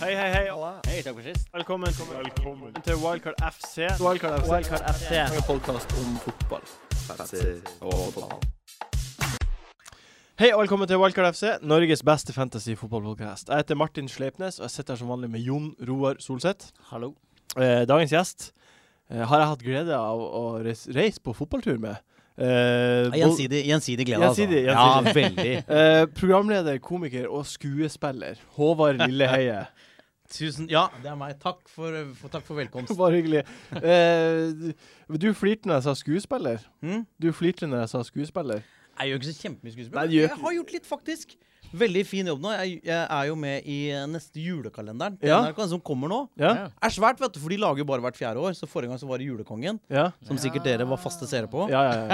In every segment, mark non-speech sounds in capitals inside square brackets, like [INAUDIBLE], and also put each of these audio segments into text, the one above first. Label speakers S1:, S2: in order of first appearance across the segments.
S1: Hei, hei, hei.
S2: Hei, takk for sist.
S1: Velkommen, til Wildcard FC.
S3: Wildcard FC.
S2: Wildcard FC.
S3: En podkast om fotball.
S1: Hei og velkommen til Wildcard FC, Norges beste fantasy-fotballpodkast. Jeg heter Martin Sleipnes, og jeg sitter her som vanlig med Jon Roar Solseth.
S2: Hallo.
S1: Eh, dagens gjest eh, har jeg hatt glede av å reise, reise på fotballtur med. Eh, bol-
S2: Gjensidig, gjensidig glede, altså.
S1: Gjensidig,
S2: Ja, veldig.
S1: eh, programleder, komiker og skuespiller Håvard
S2: [LAUGHS]
S1: Lilleheie.
S4: [LAUGHS] Tusen, ja, det er meg. Takk for, for, takk for velkomst.
S1: [LAUGHS] Bare hyggelig. Eh, du- du flirte når jeg sa skuespiller.
S4: Hm?
S1: Du flirte når jeg sa skuespiller.
S4: Jeg gjør ikke så kjempemye
S1: Nei, du
S4: skuespill.
S1: gjør
S4: Jeg
S1: ikke-
S4: har gjort litt, faktisk. Veldig fin jobb nå. Jeg, jeg er jo med i eh, neste julekalenderen til
S1: Ja.
S4: NRK, som kommer nå.
S1: Ja?
S4: Er svært, vet du, for de lager jo bare hvert fjerde år. Så forrige gang så var det Julekongen,
S1: Ja,
S4: som sikkert dere var faste seere på.
S1: ja, ja. ja.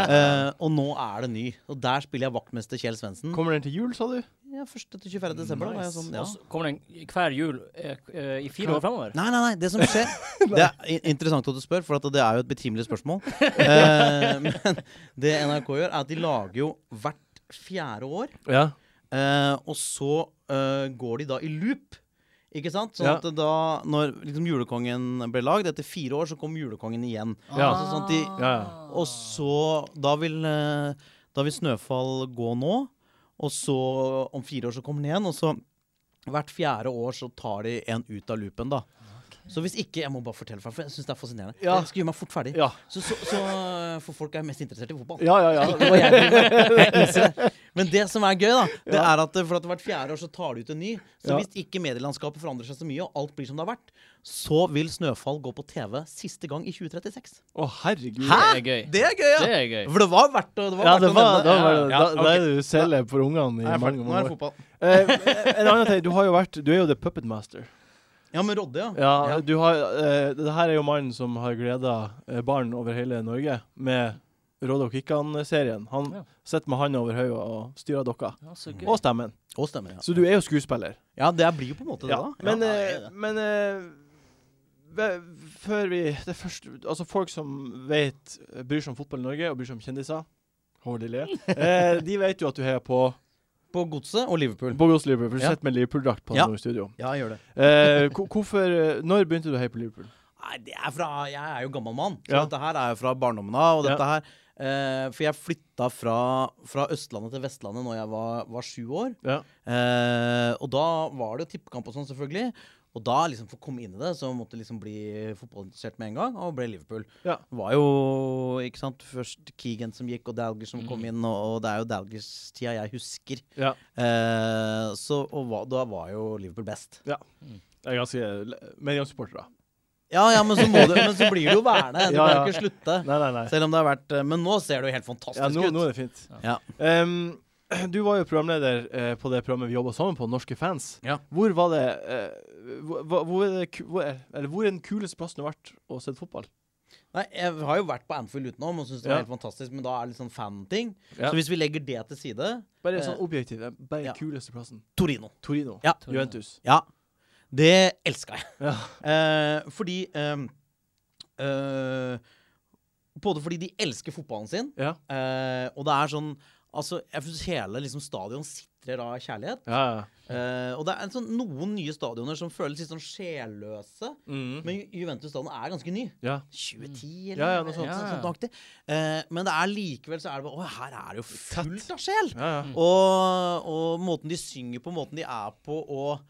S4: Eh, og nå er det ny. Og der spiller jeg vaktmester Kjell Svendsen.
S1: Kommer den til jul, sa du?
S4: Ja, 1. til 24. desember. Da var jeg sånn,
S2: Og
S4: ja.
S2: så kommer den hver jul eh, eh, i fire år framover.
S4: Nei, nei, nei, det som
S1: [LAUGHS]
S4: skjer Det er i- interessant at du spør, for at det er jo et betimelig
S1: [LAUGHS]
S4: spørsmål. Eh, men det NRK gjør, er at de lager jo hvert fjerde år,
S1: Ja.
S4: eh, og så eh, går de da i loop. Ikke sant? Sånn
S1: Ja.
S4: at da, når liksom Julekongen ble lagd, etter fire år, så kom Julekongen igjen.
S1: Ja.
S4: Altså, sånn at de,
S1: ja, ja.
S4: og så Da vil, eh, da vil Snøfall gå nå. Og så om fire år så kommer den igjen. Og så hvert fjerde år så tar de en ut av loopen, da. Så hvis ikke Jeg må bare fortelle for, for jeg syns det er fascinerende.
S1: Ja.
S4: Jeg skal gjøre meg fort ferdig.
S1: Ja,
S4: Så, så, så eh, For folk er mest interessert i fotball.
S1: ja, ja. ja.
S4: Og jeg driver med- jeg innser det. Men det som er gøy, da, det er at eh, for at hvert fjerde år så tar de ut en ny. Så
S1: Ja.
S4: hvis ikke medielandskapet forandrer seg så mye, og alt blir som det har vært, så vil Snøfall gå på TV siste gang i 2036.
S1: Å, herregud.
S2: Det er gøy.
S4: Det er gøy, ja!
S2: Det er gøy.
S4: For det var verdt, å- det var
S1: Ja,
S4: verdt
S1: det var, da
S4: å nevne.
S1: var det,
S4: Ja,
S1: da,
S4: ja,
S1: da
S4: ok.
S1: er du selger for ungene i
S4: Nå er jeg
S1: mange
S4: ferdig. Nå er det
S1: mange år.
S4: fotball.
S1: Eh, en annen ting, du, har jo vært, du er jo the puppet master.
S4: Ja, men Rodde, ja.
S1: Ja, du har, eh, det her er jo mannen som har gleda eh, barn over hele Norge med Råde og Kikkan-serien. Han
S2: Ja.
S1: sitter med handa over hodet og styrer dokka.
S2: Ja, så gøy.
S1: Og stemmen.
S4: Og stemmer, ja.
S1: Så du er jo skuespiller.
S4: Ja, det blir jo på en måte det,
S1: Ja.
S4: da.
S1: Men,
S4: ja, det er
S1: eh,
S4: det.
S1: men eh, ve- før vi Det første Altså, folk som vet bryr seg om fotball i Norge, og bryr seg om kjendiser Håvard Lille. [LAUGHS] Eh, de vet jo at du heier på
S4: På Godset og Liverpool.
S1: Bogos Liverpool, for du
S4: Ja.
S1: sitter med Liverpool-drakt på
S4: Ja.
S1: nå i studio.
S4: Ja, jeg gjør det.
S1: Eh, hvor- hvorfor eh, Når begynte du å heie på Liverpool?
S4: Nei, det er fra, Jeg er jo gammel mann, så
S1: Ja.
S4: dette her er jo fra barndommen av. Og dette her eh, For jeg flytta fra, fra Østlandet til Vestlandet når jeg var, var sju år.
S1: Ja.
S4: Eh, og da var det jo tippekamp og sånn, selvfølgelig. Og da liksom for å komme inn i det, så måtte jeg liksom bli fotballinteressert med en gang, og ble Liverpool.
S1: Ja.
S4: Det var jo ikke sant, først Keegan som gikk, og Dalglish som kom inn, og, og det er jo Dalglish-tida jeg husker.
S1: Ja.
S4: Eh, så og hva, da var jo Liverpool best.
S1: Jeg er ganske medgangssupporter, da.
S4: Ja, ja, men så, må [LAUGHS] du, men så blir det jo værende. Du
S1: Ja,
S4: kan
S1: ja.
S4: jo ikke slutte.
S1: Nei, nei, nei.
S4: Selv om det har vært eh, Men nå ser det jo helt fantastisk
S1: Ja, nå,
S4: ut.
S1: nå er det fint.
S4: Ja.
S1: Ehm, du var jo programleder eh, på det programmet vi jobba sammen på, Norske fans.
S4: Ja.
S1: Hvor var det eh, hvor, hvor, er det ku- hvor, er, eller hvor er den kuleste plassen du har vært og sett fotball?
S4: Nei, jeg har jo vært på Anfield utenom og syns det var
S1: Ja.
S4: helt fantastisk, men da er det litt sånn fan-ting.
S1: Ja.
S4: Så hvis vi legger det til side
S1: Bare
S4: Eh,
S1: sånn objektivt. eh, Bare
S4: ja.
S1: kuleste plassen.
S4: Torino.
S1: Torino.
S4: Ja.
S1: Juventus.
S4: Ja. Det elska jeg.
S1: Ja.
S4: [LAUGHS] Eh, fordi eh, eh, Både fordi de elsker fotballen sin,
S1: Ja.
S4: eh, og det er sånn Altså, jeg synes hele liksom, stadion sitrer av kjærlighet.
S1: Ja, ja.
S4: Eh, og det er en sånn, noen nye stadioner som føles litt sånn sjelløse.
S1: Mm.
S4: Men Ju- Juventus-stadion er ganske ny.
S1: ja.
S4: 2010 eller
S1: Mm. Ja, ja, noe sånt.
S4: eller
S2: Ja,
S4: sånt
S2: ja.
S4: nøyaktig. Eh, men det er likevel så er det bare Å, her er det jo fullt av sjel!
S1: ja, ja.
S4: Og, og måten de synger på, måten de er på, og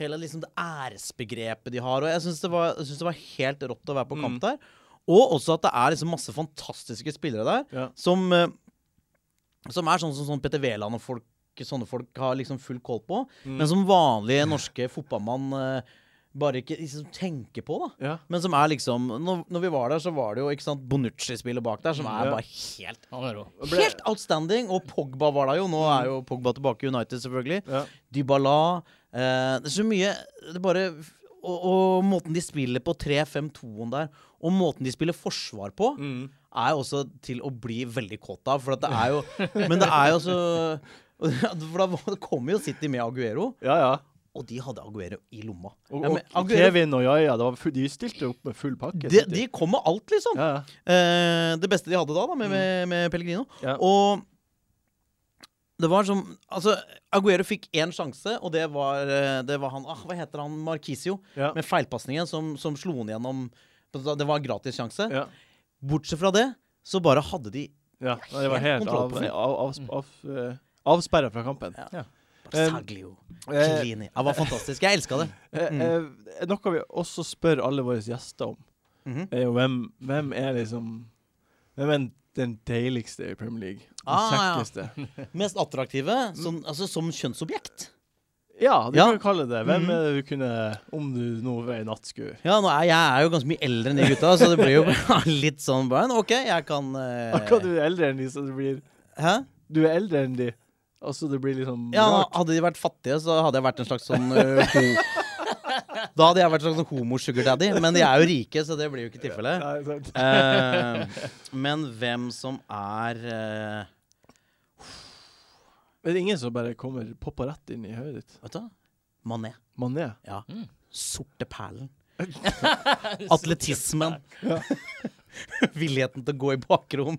S4: hele liksom det æresbegrepet de har. Og jeg syns det, var- jeg synes det var helt rått å være på
S1: Mm.
S4: kamp der. Og også at det er liksom masse fantastiske spillere der,
S1: Ja.
S4: som, eh, som er sånn som sånn Petter Wæland og folk, sånne folk har liksom full koll på,
S1: Mm.
S4: men som vanlige norske fotballmann eh, bare ikke liksom tenker på, da.
S1: ja.
S4: Men som er liksom Når, når vi var der, så var det jo ikke sant, Bonucci-spillet bak der, som er
S1: Ja.
S4: bare helt
S2: Han er rå.
S4: Helt outstanding! Og Pogba var der jo. Nå er jo Pogba tilbake i United, selvfølgelig.
S1: Ja.
S4: Dybala eh, Det er så mye Det er bare og, og måten de spiller på 3-5-2-en der, og måten de spiller forsvar på,
S1: Mm.
S4: er jo også til å bli veldig kåt av. For at det er jo Men det er jo så [LAUGHS] For da var- kom jo City med Aguero,
S1: ja, ja.
S4: og de hadde Aguero i lomma.
S1: Og,
S4: Ja,
S1: og
S4: men Aguero-
S1: Kevin og Jaja, det var fu- de stilte opp med full pakke.
S4: de,
S1: City.
S4: de kom med alt, liksom.
S1: ja, ja.
S4: Mm. Eh, det beste de hadde da, da med, med, med Pellegrino.
S1: Ja.
S4: Og Det var som Altså, Aguero fikk én sjanse, og det var, eh, det var han ah, Hva heter han? Markisio.
S1: Ja.
S4: Med feilpasningen som, som slo han gjennom Det var gratissjanse.
S1: ja.
S4: Bortsett fra det, så bare hadde de
S1: ja. Nei, Det var helt
S4: Kontroll
S1: av,
S4: på
S1: av,
S4: fly.
S1: av, av, eh, avsperra fra kampen. Eh,
S4: Saglio,
S1: Eh,
S4: Chiellini Det var fantastisk. Jeg elska det.
S1: Eh, eh, noe vi også spør alle våre gjester om,
S4: Mhm.
S1: er jo hvem, hvem er liksom Hvem er den deiligste i Premier League? Den
S4: Ah, ja.
S1: kjekkeste? Ja,
S4: Mest attraktive som, altså, som kjønnsobjekt.
S1: det
S4: Ja. Mhm.
S1: kan vi kalle det. Hvem er det du kunne Om du nå ved en natt skulle
S4: Ja, nå er, jeg er jo ganske mye eldre enn de gutta, så det blir jo [LAUGHS] bare litt sånn bare, OK, jeg kan eh,
S1: Akkurat du er eldre enn de, så det blir
S4: Hæ?
S1: Du er eldre enn de, altså det blir liksom
S4: Ja,
S1: rart.
S4: hadde de vært fattige, så hadde jeg vært en slags sånn eh, ho... Da hadde jeg vært en slags sånn homo-sugardaddy, men de er jo rike, så det blir jo ikke tilfellet.
S1: Nei, sant.
S4: [LAUGHS] Eh, men hvem som er eh,
S1: Men det er ingen som bare kommer popper rett inn i høyet ditt.
S4: Vet du hva? Mané.
S1: Mané.
S4: Ja. Sorte [LAUGHS] perlen. Atletismen. Villigheten til å gå i bakrom.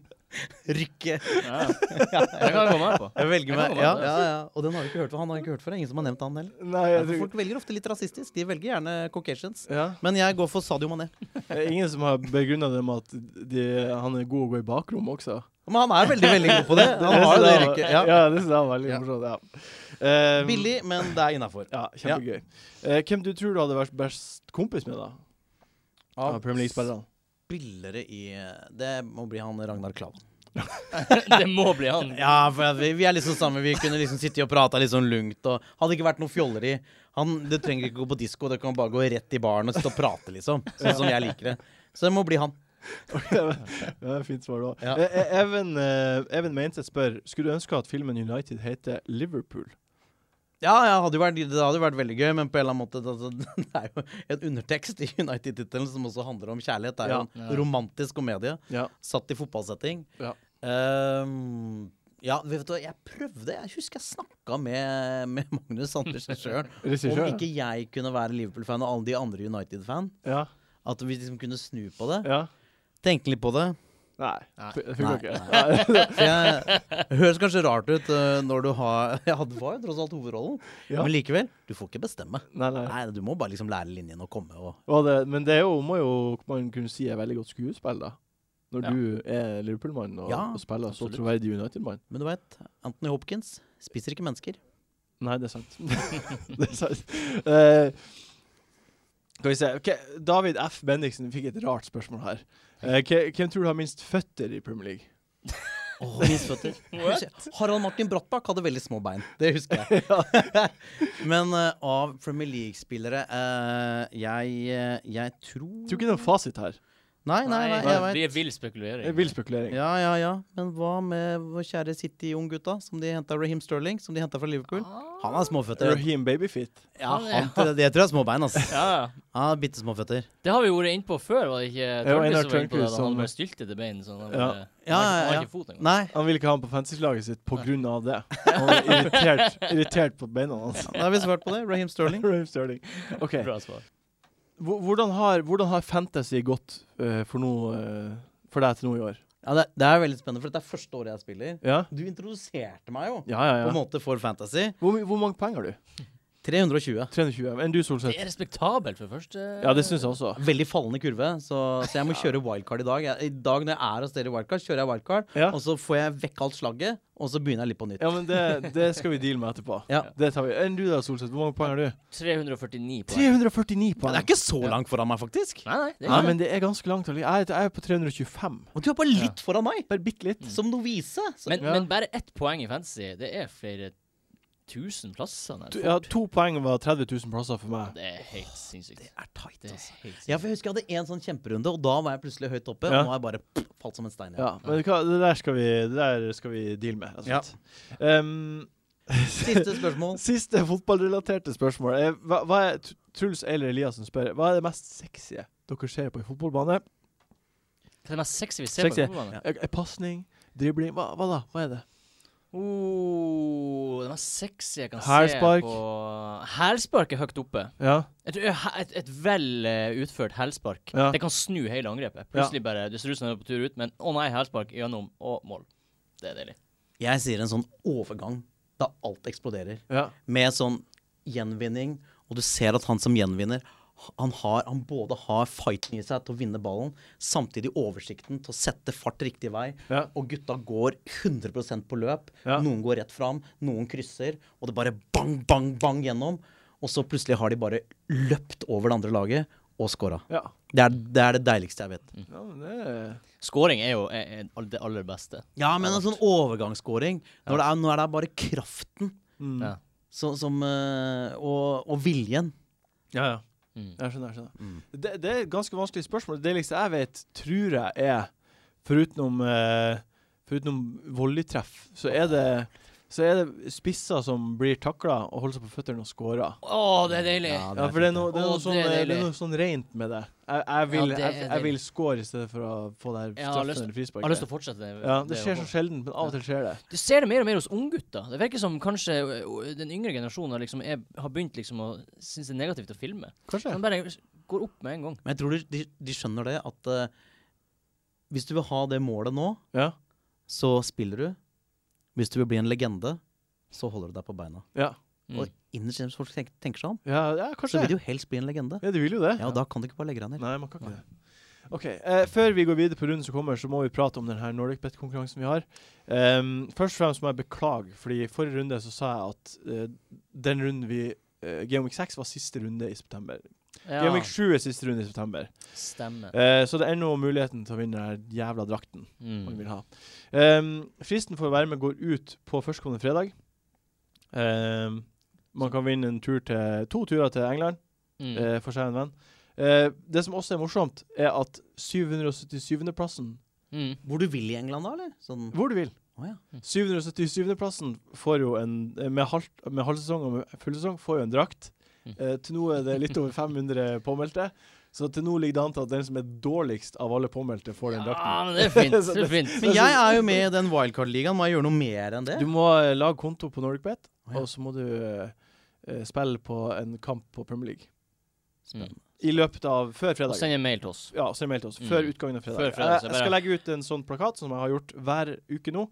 S4: Rykke.
S2: Ja. Det kan jeg gå med på.
S4: Jeg velger
S2: Jeg
S4: meg.
S2: kan gå med
S4: Ja,
S2: på det.
S4: ja, ja. Og den har du ikke hørt for. Han har ikke hørt for. Det er ingen som har nevnt han heller.
S1: Nei,
S4: Ja,
S1: jeg
S4: for
S1: tror
S4: Folk velger ofte litt rasistisk. De velger gjerne Caucasians.
S1: ja.
S4: Men jeg går for Sadio Mané.
S1: Det er ingen som har begrunna det med at de, han er god å gå i bakrom også.
S4: Men han er veldig veldig god på det. Han har jo det
S1: synes jeg
S4: rykket.
S1: var-
S4: Ja.
S1: det synes jeg var veldig
S4: Ja.
S1: morsomt. Ja. Eh,
S4: Billig, men det er innafor.
S1: Ja, kjempegøy. Eh, hvem du tror du hadde vært best kompis med, da? Av Premier [LAUGHS] League-spillerne?
S4: Spillere i Det må bli han Ragnar Klavan.
S2: [LAUGHS] Det må bli han.
S4: Ja, for at vi, vi er liksom sammen. Vi kunne liksom sitte og prate litt sånn lungt. Og hadde ikke vært noe fjolleri. Han, det trenger ikke gå på disko, det kan bare gå rett i baren og sitte og prate, liksom. Sånn som jeg liker det. Så det må bli han.
S1: det er et fint svar, da.
S4: Ja.
S1: Eh, eh, Even, eh, Even Meinseth spør Skulle du ønske at filmen United heter Liverpool.
S4: Ja, ja hadde jo vært, det hadde jo vært veldig gøy, men på en eller annen måte altså, [LAUGHS] Det er jo en undertekst i United-tittelen som også handler om kjærlighet. Det er jo
S2: Ja.
S4: en romantisk komedie
S1: Ja.
S4: satt i fotballsetting.
S1: Ja.
S4: Ehm, ja, vet du hva, jeg prøvde. Jeg husker jeg snakka med, med Magnus Andersen sjøl
S1: [LAUGHS]
S4: om
S1: Regissør?
S4: ikke jeg kunne være Liverpool-fan og alle de andre United-fan.
S1: Ja.
S4: At vi liksom kunne snu på det.
S1: ja.
S4: Tenke litt på det.
S1: Nei.
S2: Nei.
S1: Det funka
S4: Nei,
S1: ikke.
S4: [LAUGHS] For jeg det høres kanskje rart ut eh, når du har [LAUGHS] Jeg hadde var jo tross alt hovedrollen,
S1: Ja.
S4: men likevel. Du får ikke bestemme.
S1: Nei, nei.
S4: Nei, du må bare liksom lære linjen å komme og
S1: Og det, men det er jo, må jo man kunne si er veldig godt skuespill, da. Når
S2: Ja.
S1: du er Liverpool-mann og,
S4: Ja,
S1: og spiller så
S2: absolutt.
S1: troverdig United-mann.
S4: Men du veit, Anthony Hopkins spiser ikke mennesker.
S1: Nei, det er sant. det er sant. Eh, skal vi se. Ok, David F. Bendiksen fikk et rart spørsmål her. Eh, hve- hvem tror du har minst føtter i Premier League?
S4: Oh, [LAUGHS] misføtter. Harald Martin Brattbakk hadde veldig små bein. Det husker [LAUGHS] jeg. Men eh, av Premier League-spillere eh, jeg, eh, jeg tror
S1: Jeg tror ikke det er noen fasit her.
S4: Nei, nei, nei, jeg
S2: det
S4: veit.
S2: blir vill spekulering.
S1: Det er vill spekulering.
S4: Ja, ja, ja. Men hva med vår kjære City-unggutta, som de henta Raheem Sterling, som de henta fra Liverpool? Han har småføtter.
S1: Raheem Babyfit.
S4: Ah. Ja, han, det, det tror jeg er små bein, altså.
S2: Ja, ja.
S4: Ja, Bitte små føtter.
S2: Det har vi vært inne på før, var det ikke?
S1: Det var Einar
S2: Tørnquist som var inne på det,
S1: Tørnquist
S2: da
S1: som-
S2: Han bare styltede bein. Sånn, han,
S1: Ja.
S2: bare-
S4: Ja,
S2: han, har ikke- han
S4: ja,
S2: har
S4: ja.
S2: ikke fot engang.
S4: Nei.
S1: Han ville ikke ha han på fantasy-laget sitt pga. det. Han var irritert, irritert på beina hans.
S4: Da har vi svart på det. Raheem [LAUGHS] Sterling.
S1: [LAUGHS] Raheem Sterling. Ok,
S2: Bra svar.
S1: Hvor- Hvordan har, hvordan har fantasy gått eh, for, nå, eh, for deg til nå i år?
S4: Ja, det, det er veldig spennende, for dette er første året jeg spiller.
S1: Ja,
S4: Du introduserte meg jo
S1: ja, ja.
S4: på en
S1: ja.
S4: måte for Fantasy.
S1: Hvor, my- hvor mange poeng har du?
S4: 320.
S1: 320. Enn du,
S2: Det
S1: Solseth?
S2: er respektabelt for første
S1: Ja, det syns jeg også.
S4: Veldig fallende kurve, så,
S1: [LAUGHS]
S4: så jeg må kjøre wildcard i dag. Jeg, I dag når jeg er hos dere i wildcard, kjører jeg wildcard,
S1: Ja.
S4: og så får jeg vekk alt slagget, og så begynner jeg litt på nytt.
S1: Altså, Ja, men det, det skal vi deale med etterpå.
S4: Ja.
S1: Det tar vi. Enn du da, Solseth? Hvor mange poeng har du?
S2: 349 poeng.
S1: 349
S4: Men det er
S1: poeng.
S4: ikke så langt foran meg, faktisk.
S2: Nei, nei. Det
S1: Nei,
S2: er ikke det.
S1: men det er ganske langt. Jeg er, jeg er på 325.
S4: Og du er bare litt foran meg,
S1: Bare bitte litt.
S4: som novise. Så,
S2: men,
S1: Ja.
S2: men bare ett poeng i fantasy, det er flere tusen plasser. nær
S1: To,
S2: fort.
S1: ja, to poeng var 30 000 plasser for meg.
S2: Det er helt sinnssykt.
S4: det er tight,
S2: Det er
S4: altså.
S2: helt
S4: Ja,
S2: sinnssykt.
S4: for jeg husker jeg hadde én sånn kjemperunde, og da var jeg plutselig høyt oppe.
S1: Ja.
S4: Og nå har jeg bare pff, falt som en stein. igjen.
S1: Ja, men hva, det der skal vi, det der skal vi deale med. rett og slett. Ehm,
S4: Siste spørsmål.
S1: siste fotballrelaterte spørsmål. er, Hva, hva er, Tr- Truls Eiler Eliassen spør hva er det mest sexy dere ser på en fotballbane?
S2: Hva er det mest sexy vi ser
S1: Sexy.
S2: på fotballbanen?
S1: Er- er Pasning? Dribling? Hva, hva da? Hva er det?
S2: Oh, det mest sexy jeg kan
S1: Hælspark.
S2: se på Hælspark er høyt oppe.
S1: Ja.
S2: Jeg tror he- Et, et vel eh, utført hælspark.
S1: Ja.
S2: Det kan snu hele angrepet.
S1: Ja.
S2: Plutselig bare, Det ser ut som du er på tur ut, men å nei, hælspark gjennom og mål. Det er deilig.
S4: Jeg sier en sånn overgang da alt eksploderer.
S1: Ja.
S4: Med sånn gjenvinning, og du ser at han som gjenvinner, han, har, han både har fighten i seg til å vinne ballen, samtidig oversikten til å sette fart riktig vei.
S1: Ja.
S4: Og gutta går 100 på løp.
S1: Ja.
S4: Noen går rett fram, noen krysser, og det bare bang, bang, bang gjennom. Og så plutselig har de bare løpt over det andre laget og scora.
S1: Ja.
S4: Det er, det er det deiligste jeg vet.
S2: Mm.
S1: ja men det er
S2: Scoring er jo er, er all- det aller beste.
S4: Ja, men en sånn overgangsskåring Når det er, når det er bare kraften
S1: mm.
S2: Ja.
S4: så, som, eh, og, og viljen.
S1: Ja, ja.
S2: Mm.
S1: Jeg skjønner. jeg skjønner. Det, det er et ganske vanskelig spørsmål. Det deiligste jeg vet, tror jeg er Forutenom eh, Forutenom volleytreff, så er det så er det spisser som blir takla og holder seg på føttene og scorer.
S2: Å, det er deilig!
S4: Ja,
S1: Ja, for det er noe, det er
S2: Å,
S1: noe, sånn,
S2: det er
S1: eh, det er
S2: deilig.
S1: noe sånn rent med det. Jeg, jeg, vil,
S2: Ja, det er
S1: jeg, jeg vil
S2: deilig.
S1: score i stedet for å få det her
S2: Jeg har
S1: straffen
S2: lyst-
S1: eller
S2: Jeg har lyst
S1: frisparket.
S2: til å fortsette det.
S1: Ja, det
S2: å
S1: skjer
S2: gå.
S1: så sjelden, men av og til skjer det.
S2: Du ser det mer og mer hos unggutter. Det virker som kanskje ø, ø, den yngre generasjonen liksom er, har begynt liksom å synes det er negativt å filme.
S1: Kanskje.
S2: Man bare går opp med en gang.
S4: Men jeg tror de, de, de skjønner det, at eh, hvis du vil ha det målet nå,
S1: Ja.
S4: så spiller du. Hvis du vil bli en legende, så holder du deg på beina.
S1: Ja,
S2: Mm.
S4: Og innerst inne, hvis folk tenker, tenker seg om,
S1: ja, ja
S4: så
S1: kanskje.
S4: vil du jo helst bli en legende.
S1: Ja, de vil jo det.
S4: Ja, og da kan du ikke bare legge deg ned.
S1: Nei, man kan ikke det. Ok, eh, Før vi går videre på runden som kommer, så må vi prate om denne NordicBet-konkurransen vi har. Ehm, først og fremst må jeg beklage, fordi i forrige runde så sa jeg at eh, den runden vi uh, Gameweek 6 var siste runde i september.
S2: Ja,
S1: Gameweek 7 er siste runde i september.
S2: stemmer.
S1: Eh, så det er ennå muligheten til å vinne den her jævla drakten man
S2: Mm.
S1: vil ha. Ehm, fristen for å være med går ut på førstkommende fredag. Ehm, man kan vinne en tur til, to turer til England
S2: Mm.
S1: eh, for seg en venn. Eh, det som også er morsomt, er at 777.-plassen
S2: Mm.
S4: Hvor du vil i England da, eller? Sånn,
S1: Hvor du vil.
S4: Å ja.
S1: 777.-plassen får jo en eh, med, halv, med halvsesong og med fullsesong får jo en drakt.
S2: Mm.
S1: Eh, til nå er det litt over 500 påmeldte, så til nå ligger det an til at den som er dårligst av alle påmeldte, får den
S2: Ja,
S1: drakten.
S2: men det er
S1: [LAUGHS]
S2: fint. Det er fint.
S4: Men jeg er jo med i den wildcard-ligaen, må jeg gjøre noe mer enn det?
S1: Du må eh, lage konto på NordicBet,
S4: Å ja.
S1: og så må du eh, eh, spille på en kamp på Premier League.
S2: Spennende.
S1: I løpet av Før
S2: Og
S1: fredag.
S2: send en mail til oss.
S1: Ja, send mail til oss.
S2: Mm.
S1: Før utgangen av fredag. Eh,
S2: Før fredag,
S1: jeg,
S2: så
S1: jeg skal
S2: bare-
S1: legge ut en sånn plakat som jeg har gjort hver uke nå.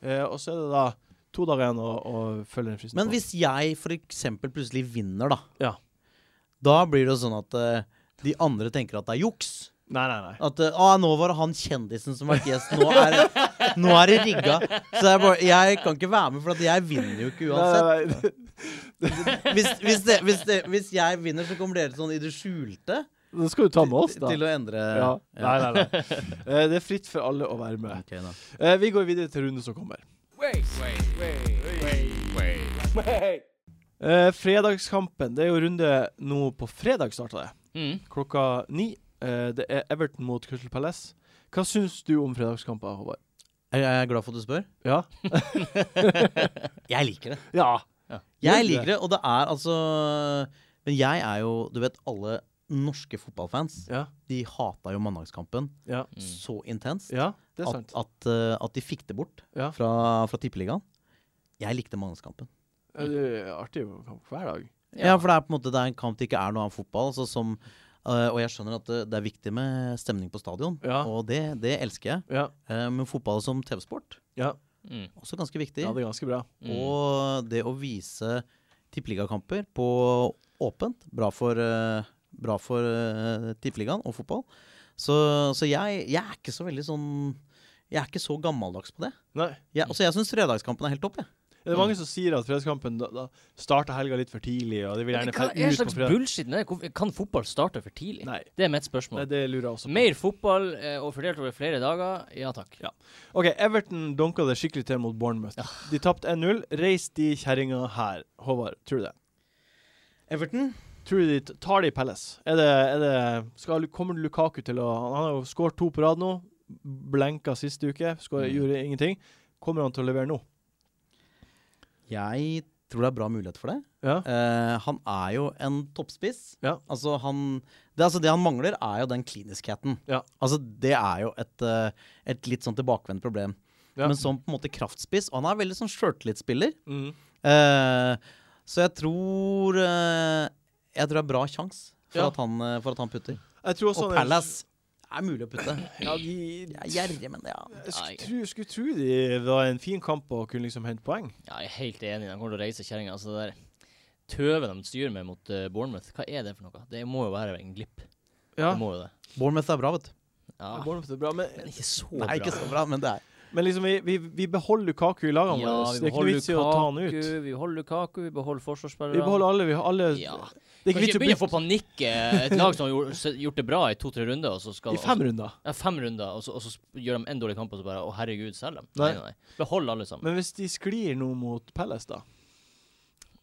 S1: Eh, og så er det da to dager igjen å, å følge den fristen.
S4: Men
S1: på.
S4: hvis jeg f.eks. plutselig vinner, da.
S1: Ja.
S4: Da blir det jo sånn at eh, de andre tenker at det er juks.
S1: Nei, nei, nei.
S4: At eh, ah, 'nå var det han kjendisen som var gjest', nå er, det- nå er det rigga. Så jeg, bare, jeg kan ikke være med, for at jeg vinner jo ikke uansett.
S1: [LAUGHS] Nei, nei,
S4: Hvis, hvis, det, hvis, det, hvis jeg vinner, så kommer dere sånn i det skjulte
S1: nei. Det skal du ta med oss, da.
S4: til å endre
S1: ja.
S4: Ja.
S1: Nei, nei,
S4: [LAUGHS]
S1: nei. Eh, det er fritt for alle å være med.
S4: Ok, da.
S1: Eh, vi går videre til runden som kommer. Eh, fredagskampen. Det er jo runde nå på fredag starta det.
S2: Mm.
S1: Klokka ni. Eh, det er Everton mot Crystal Palace. Hva syns du om fredagskamper, Håvard?
S4: Er jeg glad for at du spør?
S1: Ja?
S4: [LAUGHS] Jeg liker det.
S1: Ja.
S4: Jeg
S1: Gjør du det?
S4: liker det, og det er altså Men jeg er jo Du vet, alle norske fotballfans
S1: Ja.
S4: de hata jo mandagskampen
S1: Ja.
S2: Mm.
S4: så intenst
S1: ja. Det er
S4: at,
S1: sant.
S4: at, eh, at de fikk det bort
S1: Ja.
S4: fra, fra tippeligaen. Jeg likte mandagskampen.
S1: Ja, Det er artig å komme hver dag.
S4: Ja. for det er på en måte det er en kamp det ikke er noe annet fotball. Altså som, eh, og jeg skjønner at det, det er viktig med stemning på stadion,
S1: Ja.
S4: og det, det elsker jeg.
S1: Ja,
S4: Eh, men fotball som TV-sport,
S1: ja.
S2: Mm.
S4: også ganske viktig.
S1: ja det er ganske bra.
S2: Mm.
S4: Og det å vise tippeligakamper på åpent, bra for, eh, bra for eh, tippeligaen og fotball. Så, så jeg, jeg er ikke så veldig sånn Jeg er ikke så gammeldags på det.
S1: Nei.
S4: Jeg, altså, jeg syns fredagskampen er helt topp, jeg.
S1: Det er mange som sier at fredagskampen da, da starter helga litt for tidlig, og de vil gjerne
S2: Hva
S1: ferde
S2: er
S1: ut på
S2: slags
S1: fredag.
S2: bullshit det er? Hvorfor- Kan fotball starte for tidlig?
S1: Nei,
S2: Det er mitt spørsmål.
S1: nei, det lurer jeg også på.
S2: Mer fotball eh, og fordelt over flere dager, ja takk.
S1: Ja. OK, Everton dunka det skikkelig til mot Bournemouth. De tapte 1-0. Reis de kjerringa her, Håvard. Tror du det?
S4: Everton?
S1: Tror du de t- tar de Palace? Er det, er det skal, Kommer Lukaku til å Han har jo skåret to på rad nå. Blenka sist uke. Skår,
S2: Mm.
S1: Gjorde ingenting. Kommer han til å levere nå?
S4: Jeg tror det er bra mulighet for det.
S1: Ja.
S4: Eh, han er jo en toppspiss.
S1: Ja.
S4: Altså, han, det, altså, det han mangler, er jo den kliniskheten.
S1: Ja.
S4: Altså, det er jo et, eh, et litt sånn tilbakevendt problem.
S1: Ja.
S4: Men som på en måte kraftspiss, og han er veldig sånn sjøltillitsspiller.
S1: Mm.
S4: Eh, så jeg tror eh, Jeg tror det er bra sjanse for,
S1: Ja.
S4: at han, eh, for at han putter.
S1: Jeg tror også
S4: Og
S1: han er-
S4: Palace er mulig å putte.
S1: Ja, de
S4: Jeg er gjerrig, men ja.
S1: Jeg
S2: Nei.
S1: skulle tro, skulle tro de var en fin kamp og kunne liksom hente poeng.
S2: Ja, jeg er helt enig. De kommer til å reise kjerringa. Altså, det der tøvet de styrer med mot eh, Bournemouth, hva er det for noe? Det må jo være en glipp.
S1: Ja,
S2: Det må jo det.
S4: Bournemouth er bra, vet du.
S2: Ja.
S1: Bournemouth er bra, men,
S2: Men ikke så bra.
S4: Nei, ikke så bra, men det er
S1: men liksom, vi, vi, vi beholder Lukaku i lagene
S2: Ja,
S1: våre. Det er
S2: vi
S1: ikke noe
S2: beholder
S1: vits i å ta han ut.
S2: Lukaku, vi beholder Lukaku, vi beholder forsvarsspillerne.
S1: Vi beholder alle. Vi har alle
S2: Ja.
S1: Det er ikke
S2: Kan ikke
S1: vits å
S2: begynne å få
S1: bytte
S2: panikk. eh, Et lag som har gjort, s- gjort det bra i to-tre runder, og så skal
S1: i fem runder.
S2: ja, fem runder, og så, og så sp- gjør de en dårlig kamp, og så bare Å, herregud, selg dem.
S1: Nei.
S2: Nei, nei, nei. Behold alle sammen.
S1: Men hvis de sklir nå mot Palace, da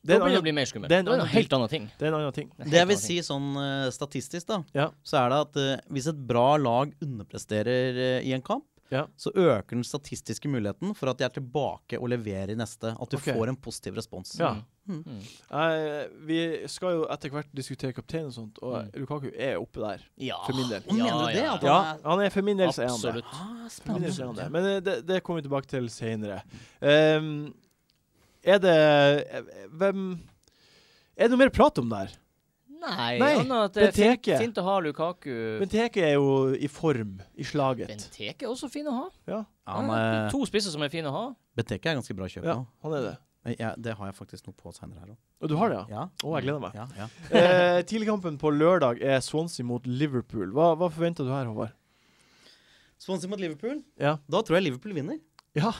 S2: Det
S1: Det er en
S2: begynner det å
S1: annen,
S2: bli Mm. mer skummelt.
S1: det er
S2: Det er
S1: en
S2: en
S1: annen
S2: helt annen ting.
S1: det er en annen ting.
S2: er en
S4: Det jeg
S2: helt
S4: vil
S2: annen
S4: si
S2: ting.
S4: sånn eh, statistisk, da,
S1: Ja.
S4: så er det at eh, hvis et bra lag underpresterer eh, i en kamp,
S1: Ja.
S4: så øker den statistiske muligheten for at de er tilbake og leverer i neste. At du
S1: Ok.
S4: får en positiv respons.
S1: Ja.
S4: Mm.
S2: Mm.
S1: Eh, vi skal jo etter hvert diskutere kaptein og sånt, og
S2: Mm.
S1: Lukaku er oppe der,
S2: Ja.
S1: for min del.
S4: Og mener du det? At
S1: Ja,
S4: han er
S1: han er for min del så er han det.
S2: Absolutt.
S4: ah,
S1: For min del så er han
S4: spennende.
S1: det. Men eh, det, det kommer vi tilbake til senere. Ehm, er det eh, Hvem Er det noe mer prat om der?
S2: Nei,
S1: Nei,
S2: annet at det er fint,
S1: Benteke.
S2: fint å ha Lukaku.
S1: Benteke er jo i form, i slaget.
S2: Benteke er også fin å ha.
S1: Ja,
S4: Ja, han er-
S2: to spisser som er fine å ha.
S4: Benteke er ganske bra kjøp
S1: ja,
S4: nå.
S1: han er det.
S4: Men jeg- Eh, det har jeg faktisk noe på senere her òg.
S1: Og du har det, ja?
S4: Ja.
S1: Å, jeg gleder meg.
S4: Ja, ja.
S1: Eh, Tidligkampen på lørdag er Swansea mot Liverpool. Hva, hva forventer du her, Håvard?
S4: Sponsor mot Liverpool?
S1: Ja.
S4: Da tror jeg Liverpool vinner.
S1: Ja.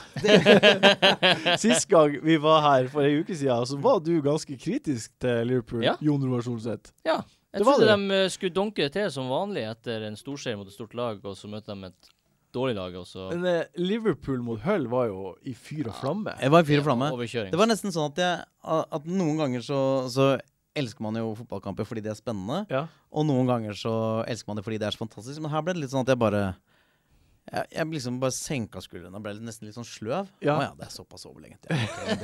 S1: Sist gang vi var her for ei uke siden, så var du ganske kritisk til Liverpool.
S2: Ja.
S1: Jon Roar Solseth.
S2: Jeg
S1: Det var
S2: trodde
S1: det.
S2: de eh, skulle dunke det til som vanlig etter en storseier mot et stort lag, og så møter de et dårlig lag, og så
S1: Men eh, Liverpool mot Hull var jo i fyr og flamme.
S4: Jeg var i fyr og flamme.
S2: overkjøring.
S4: Det var nesten sånn at, jeg, at noen ganger så, så elsker man jo fotballkamper fordi de er spennende,
S1: Ja.
S4: og noen ganger så elsker man det fordi det er så fantastisk. Men her ble det litt sånn at jeg bare jeg, jeg liksom bare senka skuldrene og ble litt- nesten litt sånn sløv.
S1: Ja.
S4: Å ja, det er såpass overlegent.
S1: [LAUGHS]
S4: Ja. [LAUGHS] ok,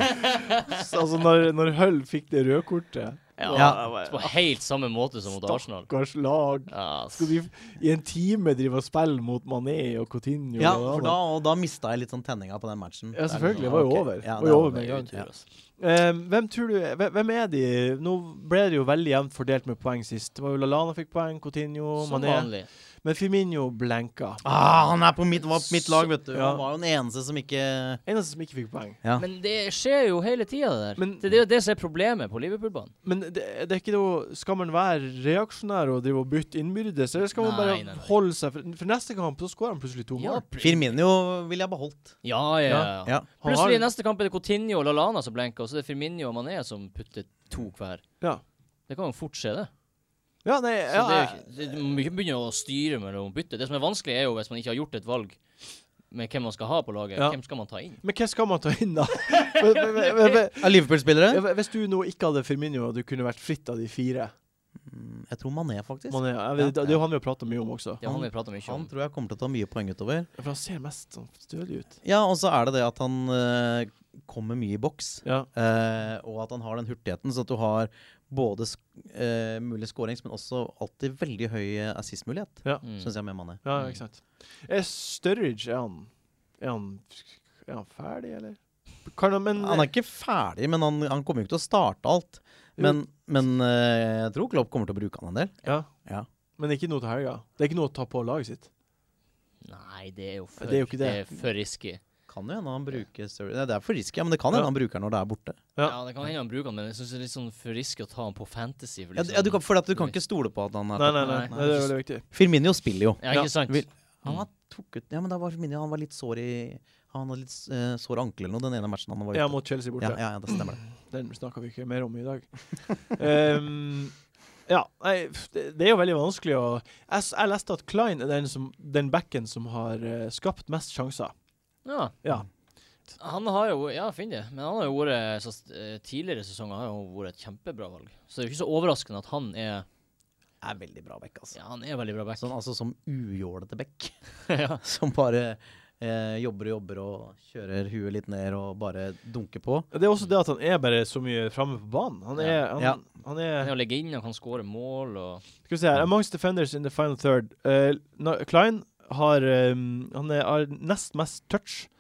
S4: det-
S1: Så, altså, når, når Hull fikk det røde kortet
S4: Ja.
S1: da-
S2: På helt samme måte som mot Arsenal.
S1: Stakkars lag.
S2: Ja, ass.
S1: Skal de i en time drive og spille mot Mané og Coutinho?
S4: ja,
S1: og
S4: for
S1: alle?
S4: da, og da mista jeg litt sånn tenninga på den
S1: altså.
S4: matchen.
S1: Ja, selvfølgelig.
S4: Det
S1: Det
S4: er
S1: var
S4: litt
S1: jo
S4: sånn,
S1: over.
S4: ok, ja,
S1: Det var jo over
S4: det
S1: med en
S4: er
S1: gang.
S4: utur,
S2: Ja.
S4: ass.
S1: Eh, hvem, tror du, hvem hvem er de? Nå ble det jo veldig jevnt fordelt med poeng sist. Det var jo Lallana fikk poeng, Coutinho,
S2: Som
S1: Mané.
S2: vanlig.
S1: Men Firmino blenka.
S4: Ah, han er på mitt, var på mitt lag, vet du.
S1: Ja.
S4: Han var jo den eneste som ikke
S1: Eneste som ikke fikk poeng.
S4: Ja.
S2: Men det skjer jo hele tida, det der.
S1: Men-
S2: det det er jo det som er problemet på Liverpool-banen.
S1: Men det, det er ikke noe Skal man være reaksjonær og drive og bytte innbyrdes, eller skal man
S2: Nei,
S1: bare
S2: nei, nei.
S1: holde seg For, for neste kamp så skårer han plutselig to
S2: Ja,
S1: mål.
S2: pl-
S4: Firmino ville jeg beholdt.
S2: ja, ja, ja.
S4: Ja.
S1: Han
S2: Plutselig i
S1: har,
S2: neste kamp er det Coutinho og Lallana som blenker, og så er det Firmino og Mané som putter to hver.
S1: Ja.
S2: Det kan jo fort skje, det.
S1: ja, nei,
S2: Så
S1: ja,
S2: det er jo
S1: jeg-
S2: ikke, det, du må ikke begynne å styre mellom bytte. Det som er vanskelig, er jo hvis man ikke har gjort et valg med hvem man skal ha på laget.
S1: Ja.
S2: Hvem skal man ta inn?
S1: Men hva skal man ta inn,
S2: [LAUGHS]
S1: da? Men- men- men- men- men-
S4: Av Liverpool-spillere?
S1: Ja, Hvis du nå ikke hadde Firmino, og du kunne vært fritt av de fire
S4: Mm, Jeg tror Mané, faktisk.
S1: Mané, jeg vet, Det er jo han vi har prata mye om også.
S2: Det har
S4: Han-
S2: vi pratet mye om.
S4: Han tror jeg kommer til å ta mye poeng utover.
S1: For han ser mest sånn stødig ut.
S4: Ja, og så er det det at han eh, kommer mye i boks.
S1: Ja.
S4: eh, og at han har den hurtigheten, så at du har både sk eh, mulig skårings, men også alltid veldig høy eh, assist-mulighet.
S2: Mm.
S4: Syns jeg med Mané.
S1: Ja, ikke sant. Er Sturridge er han, er han Er han ferdig, eller? Kan han, men
S4: Han er ikke ferdig, men han, han kommer jo ikke til å starte alt. Men, men eh, jeg tror Klopp kommer til å bruke han en del.
S1: ja.
S4: Ja.
S1: Men ikke noe til helga. Det er ikke noe å ta på laget sitt.
S2: Nei, det er jo for,
S1: Det er jo ikke det.
S2: er for risky.
S4: Kan jo hende han bruker Sturridge Nei, Det er for risky, ja, men det kan hende
S1: Ja.
S4: han bruker han når det er borte.
S1: Ja.
S2: Ja. det kan hende han bruker han, men jeg syns det er litt sånn for risky å ta han på fantasy. For liksom.
S4: Ja, du, ja, du kan, for at du kan ikke stole på at han er
S1: Nei, nei, nei.
S2: Nei,
S1: nei det er veldig viktig.
S4: Firmino spiller jo.
S2: Ja,
S1: Ja,
S2: ikke sant?
S4: vil- Han
S2: Mm.
S4: var, tok ut, ja, men da var Firmino han var litt sår i Han hadde litt eh, sår ankel eller noe den ene matchen han var ute.
S1: Ja, mot Chelsea borte.
S4: Ja, ja, ja, det stemmer det.
S1: Den snakka vi ikke mer om
S4: [LAUGHS]
S1: i dag. Ehm, ja, nei, f- det, det er jo veldig vanskelig å Jeg, s- jeg leste at Klein er den, som, den backen som har eh, skapt mest sjanser.
S2: Ja.
S1: Ja.
S4: Mm.
S2: Han har jo Ja, finn det. Men han har jo vært så, eh, Tidligere sesonger har jo vært et kjempebra valg. Så det er jo ikke så overraskende at han er
S4: Er veldig bra back, altså.
S2: Ja, han er veldig bra back.
S4: Sånn, altså som ujålete [LAUGHS] back.
S2: ja.
S4: Som bare eh, jobber og jobber og kjører huet litt ned og bare dunker på.
S1: Det er også det at han er bare så mye framme på banen. Han er, han,
S4: Ja.
S1: han
S2: Han
S1: er
S2: er å legge inn, han kan skåre mål og
S1: Skal vi se her. Amongst defenders in the final third. Eh, na- Klein har eh, Han er, har nest mest touch.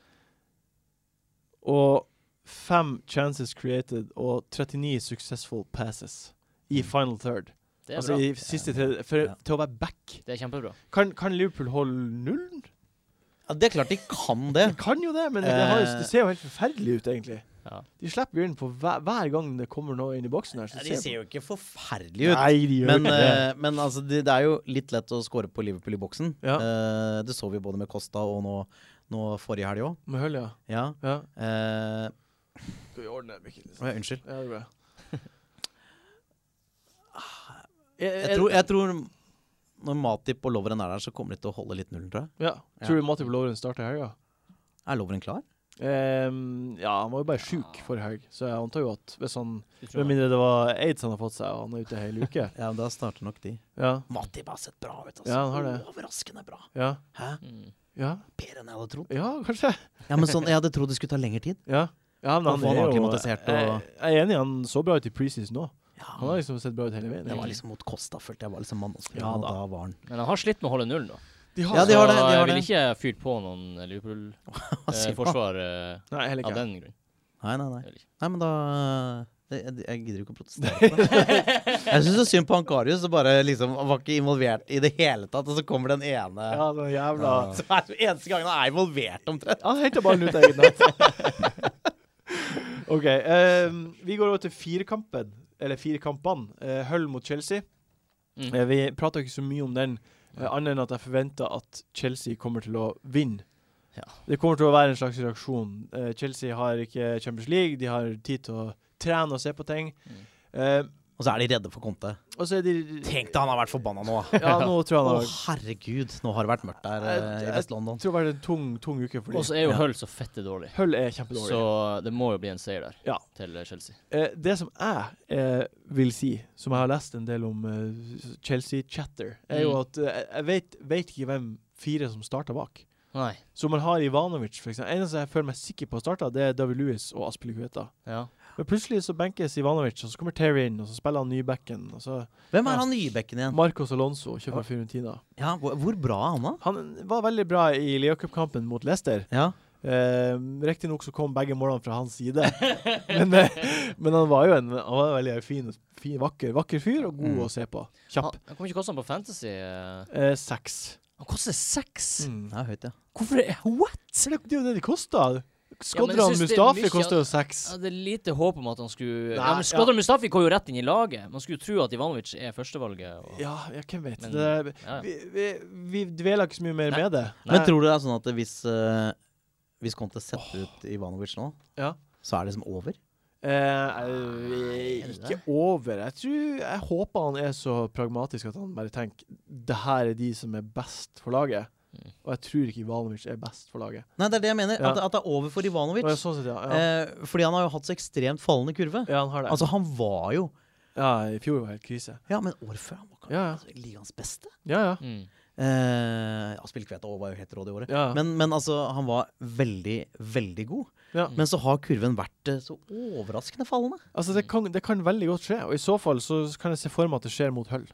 S1: Og fem chances created og 39 successful passes i final third.
S2: Det er
S1: altså,
S2: bra.
S1: i siste tredje, for,
S4: Ja.
S1: Til å være back.
S2: Det er kjempebra.
S1: Kan, kan Liverpool holde nullen?
S4: Ja, det er klart de kan det.
S1: De kan jo det, men det, har, jo-
S4: Eh.
S1: det ser jo helt forferdelig ut, egentlig.
S2: Ja.
S1: De slipper jo inn på hver, hver gang det kommer noe inn i boksen. her.
S4: Ja,
S1: Så
S4: de
S1: ser
S4: ser jo ikke
S1: jo
S4: forferdelige ut.
S1: Nei, de gjør
S4: Men,
S1: ikke det.
S4: eh, men altså, det, det er jo litt lett å score på Liverpool i boksen. Eh, det så vi både med Costa og nå, nå forrige helg òg.
S1: Med hull, ja.
S4: Ja.
S1: ja.
S4: Eh,
S1: Skal vi ordne det, Mikkel?
S4: å, ja, unnskyld.
S1: Ja, det er bra.
S4: [LAUGHS] Jeg tror, jeg tror når Matip og Lovren er der, så kommer de til å holde litt nullen, tror jeg.
S1: ja. tror du Matip Lovren starter i helga?
S4: Er Lovren klar?
S1: Ehm, ja, han var jo bare sjuk
S4: Ah.
S1: forrige helg, så jeg antar jo at hvis han
S2: Du tror
S1: Med
S2: det.
S1: mindre det var aids han har fått seg, og han er ute hele
S4: [LAUGHS]
S1: uke.
S4: Ja, men Da starter nok de.
S1: Ja,
S4: Matip har sett bra ut. altså.
S1: Ja, han har det.
S4: Overraskende bra.
S1: ja,
S4: Hæ?
S2: Mm.
S1: ja,
S4: Bedre enn jeg hadde trodd.
S1: ja kanskje.
S4: Ja, men sånn, Jeg hadde trodd det skulle ta lengre tid.
S1: Ja. ja men
S4: Og få
S1: han er
S4: han
S1: jo jeg,
S4: akklimatisert og-
S1: jeg er enig, han så bra ut i preseason nå.
S4: Ja,
S1: Han har liksom sett bra ut hele veien.
S4: Det var liksom mot Costa, følte jeg var liksom mannsspiller.
S1: Ja,
S4: og
S1: da.
S4: da var han
S2: Men han har slitt med å holde nullen, da.
S1: De
S4: Ja, de har det, de
S2: Så
S4: har
S2: jeg vil
S4: det.
S2: ikke fyrt på
S4: [LAUGHS]
S2: noen
S1: Eh,
S4: sier man?
S2: Liverpool-forsvar
S1: Nei, heller
S2: eh, av
S1: ikke.
S2: den grunn.
S4: Nei, nei, nei.
S2: Eller ikke.
S4: Nei, men da det, jeg, jeg gidder jo ikke å protestere.
S1: [LAUGHS]
S4: på det. jeg syns det er synd på Ankarius, som bare liksom var ikke involvert i det hele tatt. Og så kommer den ene
S1: Ja, den jævla
S4: [LAUGHS] Så er det eneste gangen han er involvert, omtrent.
S1: Han henter ballen ut av eget nett.
S2: [LAUGHS]
S1: OK. ehm, vi går over til firkampen, eller firkampene. Eh, Hull mot Chelsea.
S2: Mm.
S1: Eh, vi prata ikke så mye om den, eh, annet enn at jeg forventer at Chelsea kommer til å vinne.
S2: Ja.
S1: Det kommer til å være en slags reaksjon. Eh, Chelsea har ikke Champions League, de har tid til å trene og se på ting.
S2: Mm.
S1: Eh,
S4: Og så er de redde for Conte.
S1: og så er de
S4: Tenk deg han har vært forbanna nå. Å,
S1: [LAUGHS] Ja, nå tror jeg han har
S4: herregud. Nå har det vært mørkt der eh, i
S1: Jeg-
S4: Vest-London.
S1: Jeg tror det har vært en tung, tung uke for
S2: Og
S1: dem.
S2: så er jo
S4: Ja.
S2: Hull så fette dårlig.
S1: Hull er kjempedårlig.
S2: Så det må jo bli en seier der
S1: Ja.
S2: til Chelsea.
S1: Eh, det som jeg eh, vil si, som jeg har lest en del om eh, Chelsea Chatter, er jo
S2: Mm.
S1: at eh, jeg vet, vet ikke hvem fire som starter bak.
S2: Nei.
S1: Så man har Ivanovic, for eksempel. Eneste jeg føler meg sikker på starter, det er David Lewis og Aspelikueta.
S2: Ja.
S1: Men plutselig så benkes Ivanovic, og så kommer Terry inn, og så spiller han nybacken. Og så
S4: Hvem er han Nybekken igjen?
S1: Marcos Alonso, kjøpt fra Fiorentina.
S4: Ja, hvor, hvor bra er han, da?
S1: Han var veldig bra i Leo Cup-kampen mot Leicester.
S4: Ja.
S1: Eh, Riktignok så kom begge målene fra hans
S2: [LAUGHS]
S1: side, men, eh, men han var jo en, han var en veldig fin, fin vakker, vakker fyr og god
S4: Mm.
S1: å se på.
S2: Han,
S1: Kjapp.
S2: han kommer ikke koste han på Fantasy. eh.
S1: Eh, seks.
S2: Han koster seks!
S1: Mm.
S4: Det er høyt, ja.
S2: Hvorfor er What?!
S1: Så det, det er jo det de kosta.
S2: Ja, men
S1: Skodran
S2: jeg synes det er
S1: Mustafi
S2: mye-
S1: kosta jo seks.
S2: Jeg hadde lite håp om at han skulle
S1: Nei,
S2: Ja, men Skodran Mustafi går jo rett inn i laget. Man skulle tro at Ivanovic er førstevalget. Og...
S1: Ja, ja, hvem vet.
S2: Men-
S1: det er,
S2: Ja, ja.
S1: vi, vi, vi dveler ikke så mye mer
S2: Nei.
S1: med det.
S4: Men tror du det er sånn at hvis, eh, hvis Conte setter ut Ivanovic nå,
S1: Ja.
S4: så er det liksom over?
S1: Eh, jeg-
S2: Er det
S1: ikke over. Jeg tror Jeg håper han er så pragmatisk at han bare tenker det her er de som er best for laget.
S2: Mm.
S1: Og jeg tror ikke Ivanovic er best for laget.
S4: Nei, det er det jeg mener.
S1: Ja.
S4: At, at det er over for Ivanovic.
S1: Å, ja, sånn sett, ja. Ja.
S4: Eh, fordi han har jo hatt så ekstremt fallende kurve.
S1: ja, han har det.
S4: Altså, han var jo
S1: ja, i fjor var det helt krise.
S4: Ja, men året før han var kanskje
S1: Ja, ja.
S4: altså, ligaens beste.
S1: Ja, ja.
S2: Mm.
S4: Eh, ja, Spillkveta òg var jo helt rå det året.
S1: ja.
S4: Men, men altså, han var veldig, veldig god.
S1: Ja.
S4: Men så har kurven vært eh, så overraskende fallende.
S1: altså, det kan, det kan veldig godt skje. Og i så fall så kan jeg se for meg at det skjer mot Hull.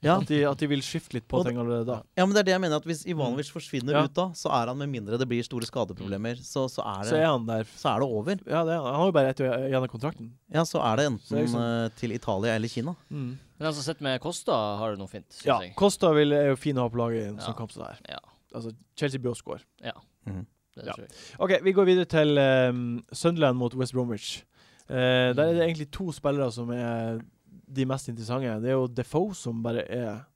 S4: Ja.
S1: At, de, at de vil skifte litt på
S4: Og-
S1: ting allerede da.
S4: Ja, men det er det jeg mener at Hvis Ivanovic forsvinner
S1: Mm. Ja.
S4: ut da, så er han med mindre det blir store skadeproblemer, så, så, er,
S1: Så
S4: det,
S1: er han der.
S4: så er det over.
S1: Ja, det er han. Han har jo bare ett år igjen av kontrakten.
S4: Ja, Så er det
S1: Så det
S4: enten
S1: er liksom-
S4: eh, til Italia eller Kina.
S1: Mm.
S2: Men den som sitter med Kosta, har det noe fint, syns
S1: Ja.
S2: jeg.
S1: Kosta vil, er jo fin å ha på laget i en
S2: Ja.
S1: sånn kamp som det her.
S2: Ja.
S1: Altså, Chelsea bør score.
S2: Det
S1: Ja.
S2: tror jeg.
S1: OK, vi går videre til um, Sunderland mot West Bromwich. Eh, der er
S4: Mm.
S1: det egentlig to spillere som er de mest interessante. Det er jo Defoe, som bare er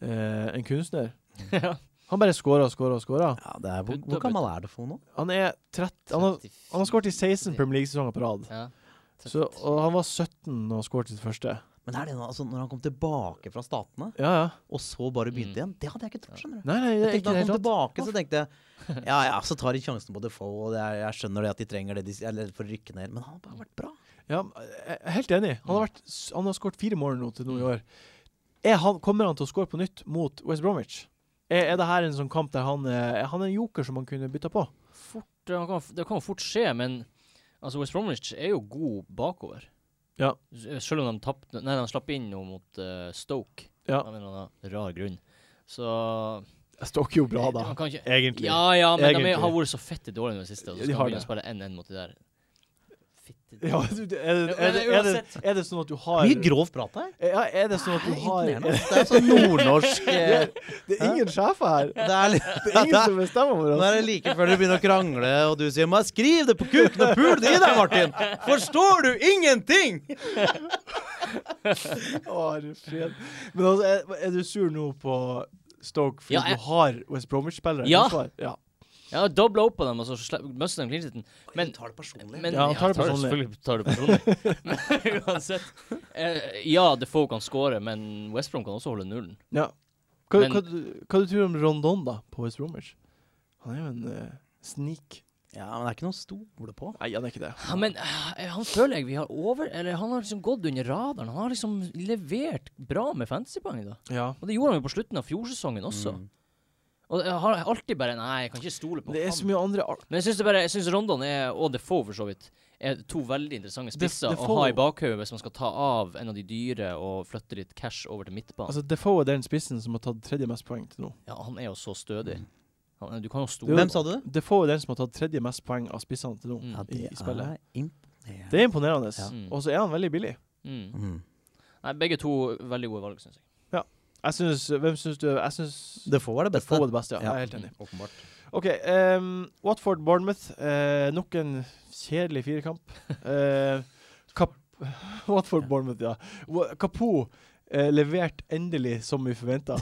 S1: eh, en kunstner.
S4: [LAUGHS]
S2: ja.
S1: Han bare skårer og skårer og skårer.
S4: Ja, det er, hvor,
S2: Putt og
S4: hvor gammel er det for nå?
S1: Han er 30 Han har, han har skåret i 16 Premier League-sesonger på rad.
S2: Ja.
S1: Så, og han var 17 da han skåret sitt første.
S4: Men det er det, nå, altså, når han kom tilbake fra Statene,
S1: Ja, ja.
S4: og så bare begynte
S2: Mm.
S4: igjen, det hadde jeg ikke trodd. skjønner du?
S1: Nei, nei, det er ikke
S4: Jeg tenkte
S1: det
S4: da han
S1: helt
S4: kom
S1: tatt.
S4: tilbake, så tenkte
S1: [LAUGHS]
S4: jeg ja, ja, så tar de sjansen på Defoe, og det er, jeg skjønner det at de trenger det de er redd for å rykke ned, men han har bare vært bra.
S1: Ja, eh, jeg er helt enig. Han har, vært, s- han har skåret fire mål nå til nå i år. Er han, kommer han til å skåre på nytt mot West Bromwich? Er, er det her en sånn kamp der han eh, er han en joker som han kunne bytta på?
S2: Fort, det, kan, det kan fort skje, men altså West Bromwich er jo god bakover.
S1: Ja.
S2: S- Selv om de tapte Nei, de slapp inn noe mot eh, Stoke
S1: Ja.
S2: av en eller annen rar grunn. Så
S1: Jeg står ikke jo bra, da.
S2: Man kan ikke
S1: Egentlig.
S2: Ja ja, men de
S1: Egentlig.
S2: er, har vært så fette dårlige i det siste, og
S1: Ja, de
S2: så skal
S1: har
S2: man begynne
S1: det.
S2: å spille 1-1 mot de der. Fitte. til
S1: Ja, du, det- er, det,
S2: Ja,
S1: er,
S2: men
S1: det, er, det,
S2: uansett.
S1: er det sånn at du har
S4: Mye grov prat her.
S1: Ja, er det sånn at du
S4: Det er
S1: har [LAUGHS]
S4: imponerende. Det er sånn nordnorsk eh,
S1: Det er ingen sjefer
S2: [LAUGHS]
S1: her.
S4: Det er litt
S1: Det er ingen som bestemmer over
S4: Nå
S1: oss.
S4: er det like før du begynner å krangle, og du sier 'Men skriv det på kuken og pul det i deg, Martin'! Forstår du ingenting?!
S1: Å, herre fred. Men altså, er, er du sur nå på Stoke fordi
S2: Ja, jeg-
S1: du har West Bromwich-spillere? i
S2: Ja.
S1: forsvar? ja.
S2: Ja, dobla opp på dem, og så sle- mister de clean sheeten. Men
S4: tar det personlig.
S2: Men,
S1: Ja, han tar det personlig.
S2: Selvfølgelig tar det personlig. men [LAUGHS] uansett. Eh, ja, Defoe kan score, men West Brom kan også holde nullen.
S1: ja. Hva,
S2: Men-
S1: hva, du- hva du tror du om Rondon da, på West Bromwich? Han er jo en eh, snik.
S4: ja, men det er ikke noe å stole på.
S1: Nei, han er ikke det.
S2: Ja, men eh, han føler jeg vi har over Eller han har liksom gått under radaren. Han har liksom levert bra med fantasypoeng, da.
S1: Ja.
S2: Og det gjorde han jo på slutten av fjorsesongen også.
S4: Mm.
S2: Og jeg har alltid bare Nei, jeg kan ikke stole på
S1: Det er
S2: ham.
S1: så mye andre ar-
S2: Men jeg syns bare Jeg synes Rondon er, og Defoe for så vidt er to veldig interessante
S1: Def-
S2: spisser å
S1: Defoe-
S2: ha i bakhodet hvis man skal ta av en av de dyre og flytte litt cash over til midtbanen.
S1: Altså, Defoe er den spissen som har tatt tredje mest poeng til nå.
S2: Ja, han er jo så stødig.
S1: Mm.
S2: Han, er- du kan jo stole
S4: Hvem sa du det?
S1: Defoe er den som har tatt tredje mest poeng av spissene til nå
S2: Mm.
S1: i, i spillet.
S4: imponerende.
S1: Det er imponerende.
S4: Ja.
S2: Mm.
S1: Og så er han veldig billig.
S2: Mm. Nei, begge to veldig gode valg, syns jeg.
S1: Jeg syns Hvem syns du Jeg syns
S4: Det får være det beste.
S1: Defoe er det beste, ja.
S4: Ja.
S1: Jeg er helt enig.
S4: Åpenbart.
S1: OK. ehm, Watford Bournemouth. eh, nok en kjedelig [LAUGHS] firekamp. Eh, Kap [LAUGHS] Watford Bournemouth, ja. Wa- Kapo eh, levert endelig som vi forventa,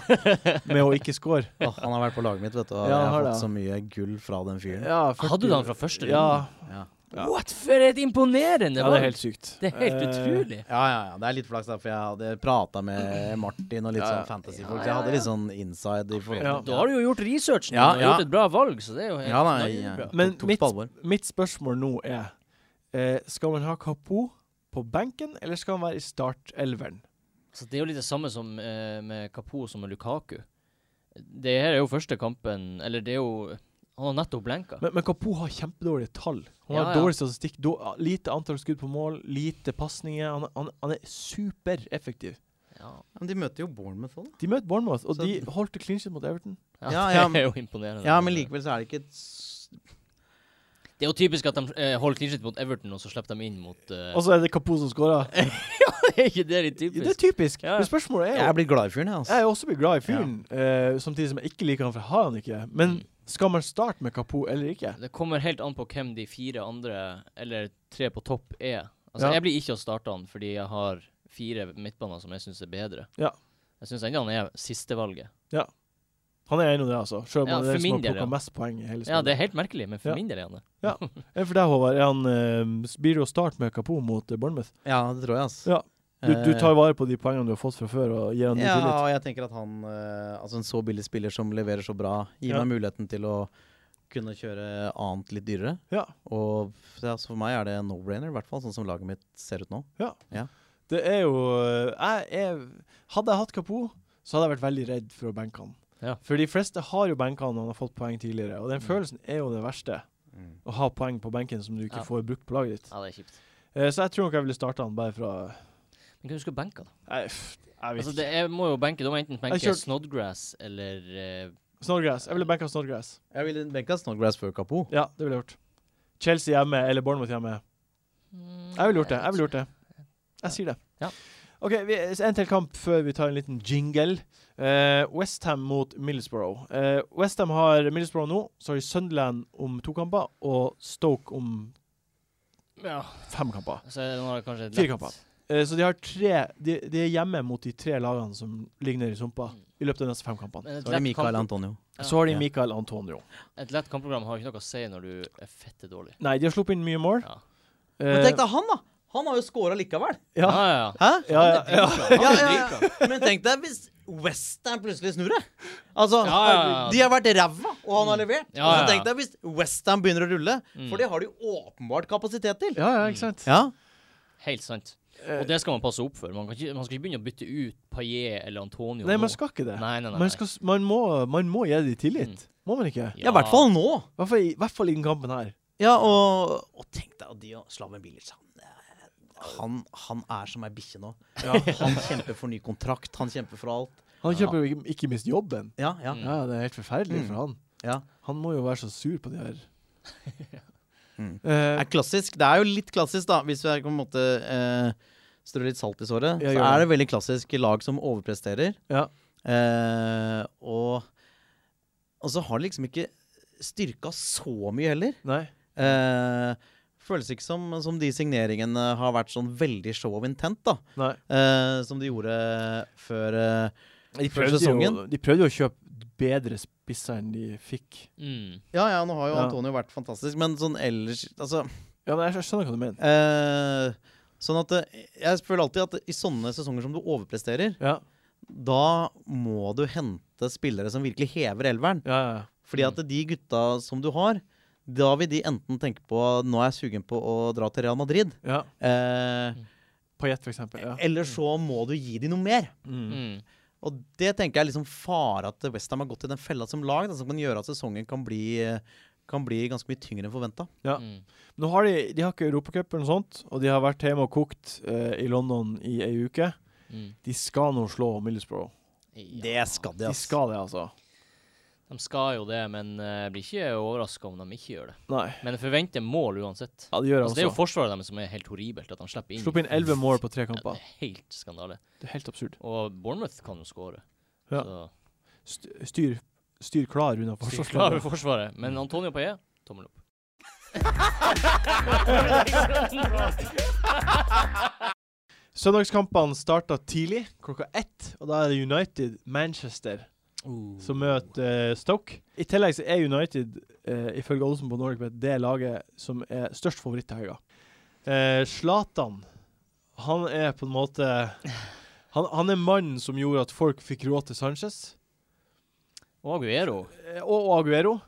S1: med å ikke score.
S4: Åh, han har vært på laget mitt, vet du, og
S1: Ja,
S4: jeg
S1: han har
S4: har
S1: det,
S4: fått
S1: ja.
S4: så mye gull fra den fyren.
S1: [LAUGHS] Ja, 40
S2: [LAUGHS] Hadde du han fra første runde?
S1: Ja,
S4: Ja.
S1: Ja.
S2: What for et imponerende
S1: ja, det er helt sykt.
S2: Det er helt
S1: Eh,
S2: utrolig.
S4: Ja, ja, ja. Det er litt flaks, da, for jeg hadde prata [CLEARS THROAT] med Martin og litt
S1: Ja, ja.
S4: sånn fantasy-folk. Så
S2: Ja,
S4: jeg
S2: ja,
S4: hadde
S2: ja.
S4: litt sånn inside i forhold
S1: Ja.
S4: til
S2: Da har du jo gjort researchen
S4: Ja,
S2: og
S4: ja.
S2: gjort et bra valg, så det er jo helt
S4: Ja, nei,
S2: knall-
S4: ja.
S1: Men
S4: Tok- tok
S1: mitt-
S4: på alvor.
S1: Mitt spørsmål nå er eh, Skal man ha Kapo på benken, eller skal han være i startelveren?
S2: Så Det er jo litt det samme som eh, med Kapo som med Lukaku. Det her er jo første kampen Eller det er jo Han har nettopp blenka.
S1: Men, men Kapo har kjempedårlige tall. Han
S2: Ja,
S1: har
S2: ja.
S1: dårlig statistikk, då- lite antall skudd på mål, lite pasninger. Han, han, han er supereffektiv.
S2: Ja,
S4: Men de møter jo Bournemouth òg, da.
S1: De møter Bournemouth, og
S4: Så-
S1: de holdt clean shit mot Everton.
S2: ja, [LAUGHS]
S4: Ja, ja,
S2: Det er jo imponerende.
S4: Ja, men likevel så er det ikke et s-
S2: Det er jo typisk at de eh, holder clean sheet mot Everton, og så slipper de inn mot eh, [LAUGHS]
S1: Og så er det Kapo som scorer.
S2: Er ikke det litt
S1: Det er
S2: typisk?
S1: typisk.
S2: Ja, ja.
S1: Men spørsmålet er
S4: Jeg
S1: jo
S4: er blitt glad i fyren, jeg, altså.
S1: Jeg er også blitt glad i fyren, eh, samtidig som jeg ikke liker han, for jeg har han ikke. Men
S2: Mm.
S1: skal man starte med Kapo eller ikke?
S2: Det kommer helt an på hvem de fire andre, eller tre på topp, er. Altså,
S1: Ja.
S2: Jeg blir ikke å starte han fordi jeg har fire midtbaner som jeg syns er bedre.
S1: Ja.
S2: Jeg syns ennå han er sistevalget.
S1: Han er ennå det, altså. Selv om
S2: Ja,
S1: han er
S2: for
S1: den som
S2: min
S1: har
S2: del,
S1: plukka
S2: ja.
S1: mest poeng i hele spillet.
S2: Ja, det er helt merkelig, men for
S1: Ja.
S2: min del er han det.
S1: Eh, For deg, Håvard, er han, eh, blir det å starte med Kapo mot eh, Bournemouth?
S4: Ja, det tror jeg, altså.
S1: Ja. Du, du
S2: Eh.
S1: tar vare på de poengene du har fått fra før, og gir han ny
S4: ja,
S1: tillit?
S4: og jeg tenker at han eh, Altså en så billig spiller som leverer så bra, gir
S1: Ja.
S4: meg muligheten til å kunne kjøre annet litt dyrere.
S1: Ja.
S4: Og ja, så for meg er det en no-brainer, i hvert fall sånn som laget mitt ser ut nå.
S1: Det er jo eh, jeg er, Hadde jeg hatt Kapo, så hadde jeg vært veldig redd for å benke han.
S2: Ja. Mm.
S1: For de fleste har jo benka han når han har fått poeng tidligere, og den følelsen er jo det verste. Å ha poeng på benken som du ikke
S2: Ja.
S1: får brukt på laget ditt.
S2: Ja, det er kjipt.
S1: Eh, så jeg tror nok jeg ville starta han bare fra
S2: Men hvem skal benke, da?
S1: Nei, pff, Jeg vet
S2: Altså,
S1: ikke.
S2: det er, må jo benke. Da må jeg enten benke
S1: Jeg kjørte-
S2: Snodgrass eller eh,
S1: Snodgrass. Jeg ville benka Snodgrass.
S4: Jeg ville benka Snodgrass før Kapo.
S1: Ja, det ville jeg gjort. Chelsea hjemme eller Bournemouth hjemme.
S2: mm,
S1: Jeg ville gjort det. Jeg ville
S2: vet
S1: gjort det. Jeg sier det.
S2: Ja.
S1: OK, vi, en til kamp før vi tar en liten jingle. Eh, West Westham mot Middlesbrough. Eh, West Westham har Middlesbrough nå, så har de Sunderland om to kamper og Stoke om
S2: ikke. Ja,
S1: fem kamper.
S2: så er det nå kanskje
S1: Fire kamper. Eh, så de har tre de, de er hjemme mot de tre lagene som ligger nede i sumpa i løpet av de neste fem kampene.
S2: Men et
S4: Så var det
S2: lett,
S4: Mikael
S2: kamp,
S4: Antonio.
S2: Ja.
S1: Så har de
S4: Ja.
S1: Mikael Antonio.
S2: et lett kampprogram har ikke noe å si når du er fette dårlig.
S1: Nei, de har sluppet inn mye mål.
S2: Ja.
S4: Men tenk
S1: Eh,
S4: deg han, da! Han har jo scora likevel.
S1: Ja.
S2: ja, ja.
S4: Hæ?
S1: ja, ja, ja.
S4: Ja, ja, ja. Men tenk deg hvis Western plutselig snur det. Altså,
S2: Ja, ja, ja.
S4: De har vært ræva, og han har levert.
S2: Ja,
S4: Og
S2: ja,
S4: så tenk
S2: ja.
S4: deg hvis Western begynner å rulle,
S2: Mm.
S4: for det har de jo åpenbart kapasitet til.
S1: ja, ja, ikke sant?
S4: Ja,
S2: Helt sant.
S1: Eh,
S2: Og det skal man passe opp for. Man, kan ikke, man skal ikke begynne å bytte ut Paillet eller Antonio
S1: Nei,
S2: nå.
S1: man skal ikke det.
S2: Nei, nei, Mm. nei,
S1: Man,
S2: nei.
S1: skal, s- man, må, man må gi dem tillit. Må man ikke?
S4: ja i hvert fall nå.
S1: I hvert fall i, hvert fall i den kampen her.
S4: Ja, og, og tenk deg at de og Slaven Bilic han, eh, han, han er som ei bikkje nå. [LAUGHS] Han kjemper for ny kontrakt, han kjemper for alt.
S1: Han
S2: Ja.
S1: kjøper jo ikke, ikke minst jobben.
S4: Ja, ja.
S1: Ja, Det er helt forferdelig for han.
S4: ja.
S1: Han må jo være så sur på de her. Eh,
S4: er klassisk. Det er jo litt klassisk, da, hvis vi er på en måte eh, strør litt salt i såret.
S1: Ja,
S4: så
S1: gjør
S4: er det veldig klassisk lag som overpresterer.
S1: Ja.
S4: Eh, og, og så har de liksom ikke styrka så mye heller.
S1: nei.
S4: Eh, føles ikke som, som de signeringene har vært sånn veldig show of intent, da.
S1: nei.
S4: Eh, som de gjorde før eh,
S1: De
S4: Før
S1: prøvde, jo,
S4: sesongen?
S1: de prøvde jo å kjøpe bedre spisser enn de fikk.
S2: Mm.
S4: Ja ja, nå har jo
S1: Ja.
S4: Antonio vært fantastisk, men sånn ellers Altså
S1: Ja, men jeg, jeg skjønner hva du mener.
S4: Eh, sånn at eh, jeg føler alltid at i sånne sesonger som du overpresterer,
S1: Ja,
S4: da må du hente spillere som virkelig hever elveren.
S1: ja, ja.
S4: Fordi
S1: Mm.
S4: at de gutta som du har, da vil de enten tenke på nå er jeg sugen på å dra til Real Madrid.
S1: ja.
S4: Eh,
S1: Pajett, for eksempel. Ja.
S4: Eller så må du gi dem noe mer.
S1: Mm.
S2: Mm.
S4: Og det tenker jeg er liksom fare at Westham har gått i den fella som lag, da, som kan gjøre at sesongen kan bli, kan bli ganske mye tyngre enn forventa.
S1: Ja.
S2: Mm.
S1: Nå har de, de har ikke Europacup eller noe sånt, og de har vært hjemme og kokt eh, i London i ei uke.
S2: Mm.
S1: De skal nå slå Middlesbrough.
S2: Ja.
S4: Det skal de,
S1: De
S4: ass. [LAUGHS]
S1: skal det, altså.
S2: De skal jo det, men eh, blir ikke overraska om de ikke gjør det.
S1: Nei.
S2: Men jeg forventer mål uansett.
S1: Ja, de gjør
S2: Altså,
S1: det,
S2: det er jo
S1: altså.
S2: forsvaret deres som er helt horribelt, at de slipper inn.
S1: Slupp inn elleve mål på tre
S2: Ja, det
S1: kamper.
S2: er helt skandale.
S1: Det er helt absurd.
S2: Og Bournemouth kan jo skåre.
S1: Ja.
S2: Så
S1: St- Styr, styr klar unna
S2: vi klarer
S1: forsvarslandet.
S2: forsvaret. Men Antonio Paillet, tommel opp.
S1: Søndagskampene starta tidlig, klokka ett, og da er det United Manchester som
S2: Uh.
S1: møter eh, Stoke. I tillegg så er United, eh, ifølge Olsen på Nordic Bet, det laget som er størst favoritt til helga. Eh, Zlatan, han er på en måte han, han er mannen som gjorde at folk fikk råd til Sanchez,
S2: Og Aguero.
S1: eh, og og Aguero.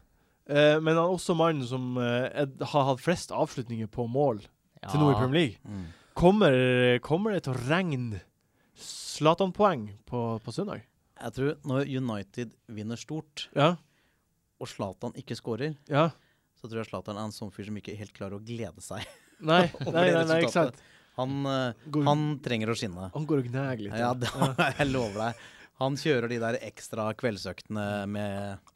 S1: Eh, men han er også mannen som eh, er, har hatt flest avslutninger på mål til nå i Premier League.
S4: Mm.
S1: Kommer, kommer det til å regne Zlatan-poeng på, på søndag?
S4: Jeg tror når United vinner stort,
S1: Ja.
S4: og Zlatan ikke scorer,
S1: ja.
S4: så tror jeg Zlatan er en sånn fyr som ikke helt klarer å glede seg.
S1: [LAUGHS] Nei,
S4: Over
S1: nei,
S4: det
S1: nei, nei, ikke
S4: resultatet.
S1: sant.
S4: Han, eh,
S1: Går, han,
S4: han trenger å skinne.
S1: går og gnager litt.
S4: Ja, det, [LAUGHS] jeg lover deg. Han kjører de der ekstra kveldsøktene med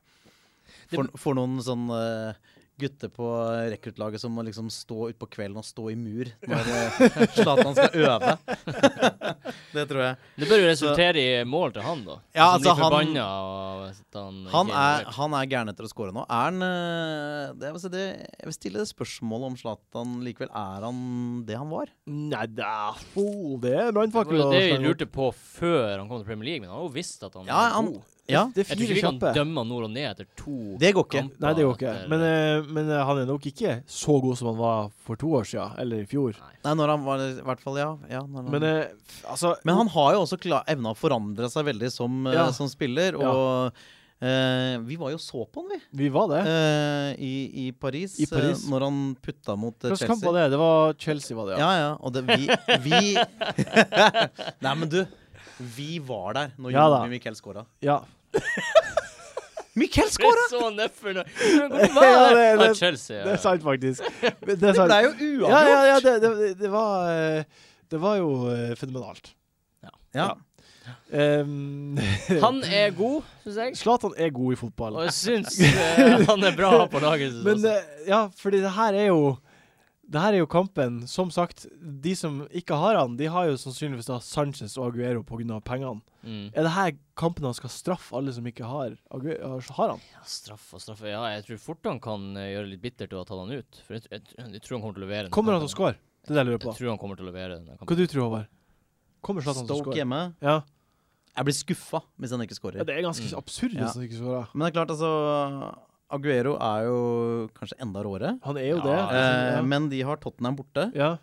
S4: For, for noen sånn eh, gutter på rekruttlaget som må liksom stå utpå kvelden og stå i mur når [LAUGHS] eh, Zlatan skal øve. [LAUGHS] det tror jeg.
S2: Det bør jo resultere i mål til han, da.
S4: Ja, altså,
S2: han blir
S4: han-
S2: forbanna av at han ikke
S4: Han er,
S2: involvert.
S4: han er gæren etter å score nå. Er han eh, det, altså det, Jeg vil stille det spørsmålet om Zlatan likevel er han det han var?
S1: Nei, det er, oh, det er
S2: Det
S1: brannfakkel.
S2: var jo
S1: å
S2: det vi
S1: slenge opp.
S2: lurte på før han kom til Premier League, men han har jo visst at han
S4: Ja,
S2: er
S4: han,
S2: god.
S4: ja
S1: Det er
S2: Jeg tror ikke
S1: fire
S2: vi kan
S1: kjappe.
S2: dømme han nord og ned etter to
S4: det går ikke.
S2: kamper.
S1: Nei, det går ikke.
S2: etter-
S1: Men, eh, men eh, han er nok ikke så god som han var for to år siden, eller i fjor.
S4: Nei, når han var I hvert fall, ja. ja når han,
S1: Men
S4: men,
S1: eh, f- altså
S4: han har jo også kla- evna å forandre seg veldig som, eh,
S1: Ja.
S4: som spiller, og eh, vi var jo så på han, vi,
S1: Vi var det.
S4: eh, i, i Paris,
S1: I Paris.
S4: eh, når han putta mot eh,
S1: Hvilken kamp
S4: Chelsea.
S1: var det? Det var Chelsea, var det, ja.
S4: Ja, ja. Og det, vi, vi [LAUGHS] Nei, men du. Vi var der når
S1: Ja da.
S4: Jon Mikkel scora.
S1: Ja,
S4: Mikkel
S2: Det
S4: scora!
S2: er så nedfor nå.
S1: [LAUGHS]
S2: Hvordan var det?
S1: det-
S2: Ah,
S1: det-
S2: Chelsea.
S1: det er sant, faktisk. Det, er
S4: Det
S1: sant.
S4: ble jo
S1: Ja,
S4: uavgjort.
S1: ja, ja, det, det, det var eh, Det var jo eh, fenomenalt.
S4: Ja.
S1: Em,
S2: Han er god, syns jeg.
S1: Zlatan er god i fotball.
S2: Og jeg
S1: [LAUGHS]
S2: syns eh, han er bra på laget. synes
S1: Men
S2: jeg også.
S1: eh, ja, fordi det her er jo det her er jo kampen. Som sagt, de som ikke har han, de har jo sannsynligvis da Sanchez og Aguero pga. pengene.
S2: mm.
S1: Er det her kampen han skal straffe alle som ikke har, Ague- har han?
S2: ja, straff og straff Ja, jeg tror fort han kan eh, gjøre det litt bittert å ha tatt han ut. For jeg, jeg, jeg tror han kommer til å levere. denne
S1: Kommer han til å score?
S2: kampen.
S1: Det er det jeg lurer på.
S2: Jeg tror han kommer til å levere denne
S1: Hva
S2: kampen.
S1: du tror Håvard? Kommer Zlatan til å
S4: Stoke
S1: score?
S4: hjemme.
S1: Ja.
S4: Jeg blir skuffa hvis han ikke
S1: ja,
S4: scorer.
S1: det er ganske
S2: Mm.
S1: absurd hvis
S4: Ja.
S1: han ikke scorer.
S4: Men det er klart, altså Aguero er jo kanskje enda råere.
S1: Han er jo
S2: Ja,
S1: det.
S2: ja.
S4: Eh,
S1: ja.
S4: men de har Tottenham borte.
S1: ja.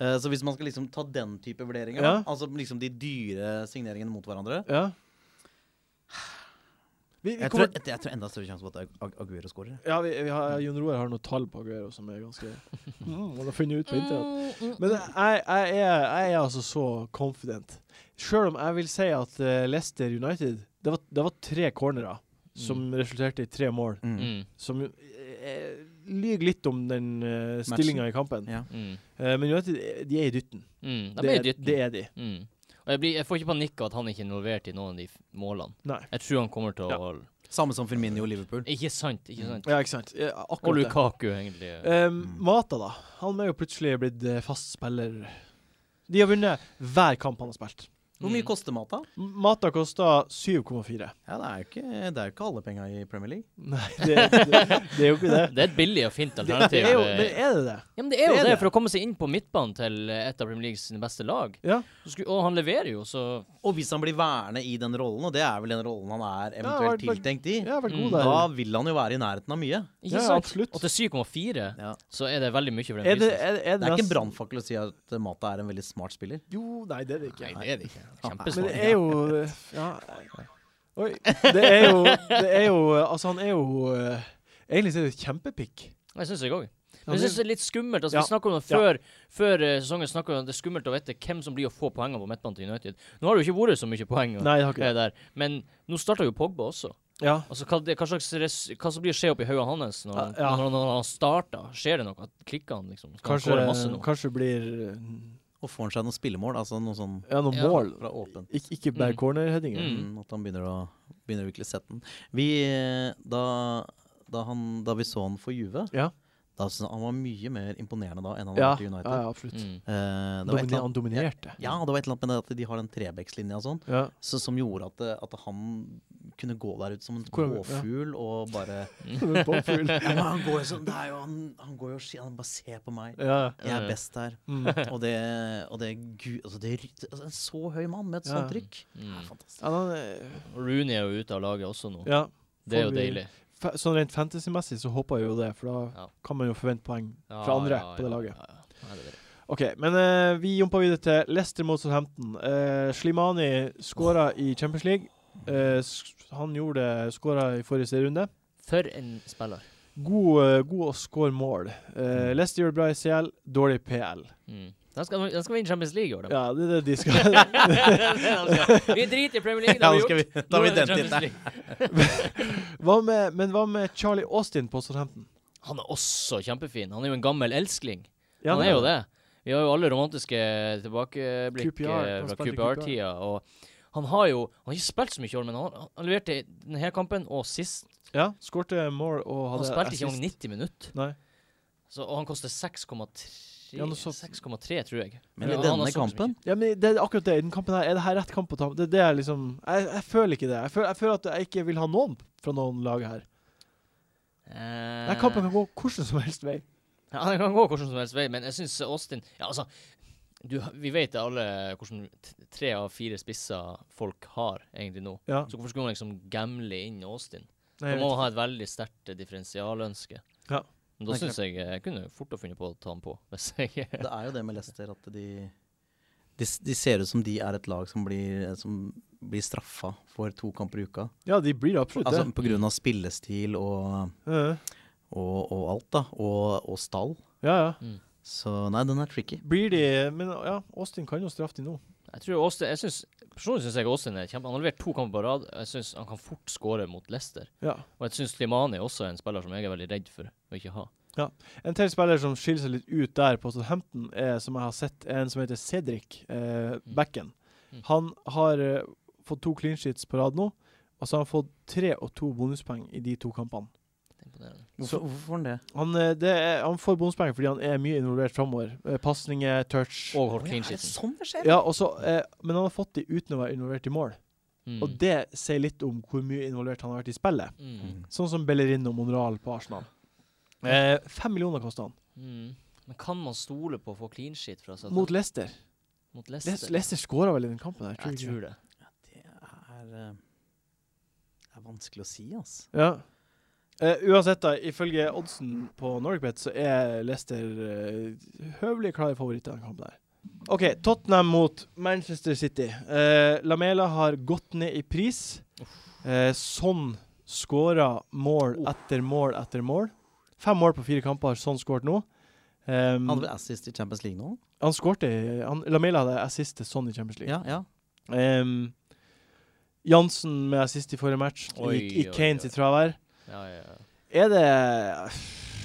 S4: Eh, så hvis man skal liksom ta den type vurderinger,
S1: Ja.
S4: da, altså liksom de dyre signeringene mot hverandre
S1: ja. Vi, vi
S4: Jeg
S1: kommer
S4: tror, jeg, tror enda større sjanse på at Ag- Ag- Aguero scorer.
S1: Ja, vi, vi har, Jon Roar har noen tall på Aguero som er ganske
S2: [LAUGHS]
S1: mm, Man har funnet ut på internett. Men jeg, jeg, er, jeg er altså så confident. Selv om jeg vil si at eh, Leicester United Det var, det var tre cornerer som resulterte i tre mål.
S4: Mm.
S2: Mm.
S1: Som eh, lyver litt om den uh, stillinga i kampen.
S4: Ja.
S2: Mm.
S1: Eh, men United eh, de er i dytten.
S2: Mm. De
S1: det,
S2: er i
S1: er-
S2: dytten.
S1: det er de.
S2: Mm. Og jeg, blir, jeg får ikke panikk av at han ikke er involvert i noen av de f- målene.
S1: Nei.
S2: Jeg tror han kommer til å
S4: Samme som Firmino og Liverpool.
S2: Ikke sant, ikke sant.
S1: Ja, ikke sant. Mm. Ja,
S2: Og
S1: akkurat det.
S2: Lukaku, egentlig.
S1: [LAUGHS] Ehm, Mata, da. Han er jo plutselig blitt eh, fast spiller. De har vunnet hver kamp han har spilt.
S4: Hvor mye koster mat, da?
S1: M- Mata kosta 7,4.
S4: Ja, det er jo ikke, det er jo ikke alle penga i Premier League.
S1: [LAUGHS] Nei, det, det, det er jo
S2: [LAUGHS]
S1: ikke det.
S2: Det er et billig og fint
S1: [LAUGHS] det, det
S2: alternativ. eh,
S1: er jo, men er det det?
S2: ja, men det er jo
S1: det
S2: det,
S1: er det.
S2: for å komme seg inn på midtbanen til eh, et av Premier Leagues sine beste lag.
S1: Ja.
S2: Så skulle, og han leverer jo, så
S4: Og hvis han blir værende i den rollen, og det er vel den rollen han
S1: Ja,
S4: er eventuelt
S1: det var-
S4: tiltenkt i,
S1: Jeg har vært
S2: Mm,
S1: god der.
S4: da vil han jo være i nærheten av mye.
S2: ikke
S1: Ja,
S2: sant?
S1: absolutt.
S2: Og til 7,4
S4: Ja.
S2: så er det veldig mye for den
S1: Er det,
S2: prisen.
S1: er, er
S4: Det er ikke en
S1: nesten-
S4: brannfakkel å si at eh, Mata er en veldig smart spiller.
S1: Jo, nei, det er det ikke.
S2: Nei, det er det ikke. sånn.
S1: Men
S2: Kjempesmart.
S1: det er jo ja. Oi. Det er jo, det er jo Altså, han er jo eh, Egentlig så er det et kjempepikk.
S2: Jeg syns jeg òg.
S1: Han
S2: Men jeg
S1: er-
S2: synes det er litt skummelt. Altså,
S1: Ja.
S2: Vi snakket om det før, før eh, sesongen snakket vi om at det er skummelt å vite hvem som blir å få poengene på midtbanen til United. Nå har det jo ikke vært så mye poeng. og-
S1: Nei, det har ikke
S2: eh,
S1: det.
S2: Der. Men nå starter jo Pogba også.
S1: Ja.
S2: Altså, hva, det, hva, slags res, hva som blir å skje oppi hodet hans når, han-
S1: Ja.
S2: når, han- når han starter? Skjer det noe? Klikker han, liksom? Skal
S1: Kanskje,
S2: han skåre masse nå?
S1: kanskje blir eh,
S4: Og får han seg noen spillemål, altså noe sånn
S1: Ja, noen
S2: Ja.
S1: mål.
S4: fra åpen.
S1: Ik ikke bare
S2: Mm.
S1: cornerheadinger.
S2: Mm.
S4: Mm, At han begynner å, begynner å virkelig sette den. Vi, eh, da, da, han, da vi så han for Juve,
S1: Ja.
S4: da syntes jeg han var mye mer imponerende da enn han
S1: Ja,
S4: var til
S1: ja,
S4: United.
S1: ja, absolutt.
S2: Mm.
S4: Eh, det var et
S1: Domine
S4: eller
S1: han
S4: annet,
S1: dominerte.
S4: ja, det var et eller annet med det at de har den trebekslinja og sånn,
S1: Ja.
S4: så, som gjorde at, det- at han kunne gå der ute som en
S1: Hvor- ja.
S4: gåfugl og
S1: [LAUGHS]
S4: bare [LAUGHS]
S1: Bobbfugl.
S4: ja, men han går jo sånn, det er jo, han, han går jo og sier, han bare ser på meg.
S1: ja.
S4: Jeg er best her.
S1: Mm.
S4: Og det, og det, gud, altså det er rytt- altså En så høy mann med et
S1: Ja.
S4: sånt trykk. Det er
S2: Mm.
S1: [LAUGHS]
S4: fantastisk.
S1: ja, han er-
S2: Rooney er jo ute av laget også nå.
S1: ja.
S2: det er jo
S1: Får vi-
S2: deilig.
S1: Fa- Sånn rent fantasy-messig så håper jeg jo det, for da
S2: Ja.
S1: kan man jo forvente poeng
S2: Ja,
S1: fra andre
S2: ja,
S1: på det
S2: ja,
S1: laget.
S2: ja, ja. Nei, det er deilig.
S1: OK, men eh, vi jumper videre til Leicester mot Southampton. Eh, Slimani skåra i Champions League. Eh, s- han gjorde det, skåra i forrige serierunde.
S2: For en spiller.
S1: God, eh, god å score mål.
S4: Mm.
S1: Eh, Leicester gjorde det bra i CL, dårlig PL.
S2: Mm. Den skal, den skal vinne Champions League i [LAUGHS] år, da.
S1: Ja, det er det de skal.
S2: vi driter i Premier League, det har vi gjort.
S4: vi,
S2: Nå er det Champions League.
S1: hva med, men hva med Charlie Austin på Southampton?
S2: Han er også kjempefin. Han er jo en gammel elskling.
S1: Ja,
S2: han er jo det. Vi har jo alle romantiske tilbakeblikk
S1: QPR,
S2: eh,
S1: han
S2: fra
S1: spilte i
S2: QPR-tida. Og han har jo Han har ikke spilt så mye i år, men han, han leverte i denne kampen og sist.
S1: Ja, skårte mål og
S2: Han
S1: hadde
S2: spilte ikke engang 90 minutter.
S1: Nei.
S2: Så, og han koster 6,3,
S1: Ja, noe sånt.
S2: 6,3, tror jeg.
S4: Men i
S2: Ja, han har
S4: denne
S2: sånn så
S4: kampen
S1: Ja, men det er akkurat det. I den kampen her, er det her rett kamp å ta? Det, er det er liksom jeg, jeg føler ikke det. Jeg føler, jeg føler at jeg ikke vil ha noen fra noen lag her.
S2: Eh,
S1: Denne kampen kan gå hvordan som helst vei.
S2: Ja, den kan gå hvordan som helst vei, men jeg syns Austin Ja, altså du, Vi vet alle hvordan t- tre av fire spisser folk har egentlig nå.
S1: Ja.
S2: Så hvorfor skulle man liksom gamble inn Austin?
S1: Nei,
S2: Du
S1: jeg
S2: må
S1: vet
S2: ha et veldig sterkt eh, differensialønske.
S1: Ja.
S2: Men da
S4: Det er
S2: syns jeg eh, jeg kunne fort ha funnet på å ta han på, [LAUGHS] hvis jeg
S4: Det er jo det med Leicester at de de, s- de ser ut som de er et lag som blir, som blir straffa for to kamper i uka.
S1: ikke. ja, de blir absolutt
S4: Altså
S1: det.
S4: pga. spillestil og,
S1: Ja,
S4: og, og alt, da. Og, og stall.
S1: Ja, ja.
S4: Så nei, den er tricky.
S1: Blir de Men ja, Austin kan jo straffe de nå.
S2: Jeg tror Austin jeg synes, Personlig syns jeg Austin er kjempe Han har levert to kamper på rad. og Jeg syns han kan fort skåre mot Leicester.
S1: Ja.
S2: Og jeg syns Limani også er en spiller som jeg er veldig redd for å ikke ha.
S1: En til spiller som skiller seg litt ut der på Southampton, er, som jeg har sett, er en som heter Cedric eh, Becken.
S2: Mm.
S1: Han har eh, fått to clean sheets på rad nå, og så har han fått tre og to bonuspoeng i de to kampene.
S2: Det er imponerende.
S1: Så-
S4: Hvorfor, hvorfor får han det?
S1: Han, eh, det er, han får bonuspoeng fordi han er mye involvert framover. Eh, Pasninger, touch.
S2: Og holdt clean
S4: Er det
S2: sheeten.
S4: sånn det skjer?
S1: Ja, og så, eh, men han har fått de uten å være involvert i mål.
S2: Mm.
S1: Og det sier litt om hvor mye involvert han har vært i spillet.
S2: Mm.
S1: Sånn som Bellerin og Monreal på Arsenal. Eh, fem millioner kosta han,
S2: Mm. Men kan man stole på å få clean sheet fra Southampton?
S1: mot Leicester.
S2: mot Leicester?
S1: Leicester, Leicester skåra vel i den kampen? her,
S2: Jeg
S1: tror du ikke?
S2: tror det.
S4: Det er, eh, det er vanskelig å si, altså.
S1: Ja. Eh, uansett, da, ifølge oddsen på Norwegbet så er Leicester eh, høvelig klare favoritter i den kampen der. OK, Tottenham mot Manchester City. Eh, Lamela har gått ned i pris. Eh, sånn skåra mål
S2: Uff.
S1: etter mål etter mål. Fem mål på fire kamper har sånn skåret nå. Ehm,
S4: Hadde vi assist i Champions League nå?
S1: han skårte i- han- Lamela hadde assist til sånn i Champions League.
S4: Ja, ja.
S1: Ehm, Jansen med assist i forrige match,
S2: Oi,
S1: i, i
S2: oi,
S1: Kane
S2: oi.
S1: sitt fravær.
S2: Ja, ja, ja.
S1: Er det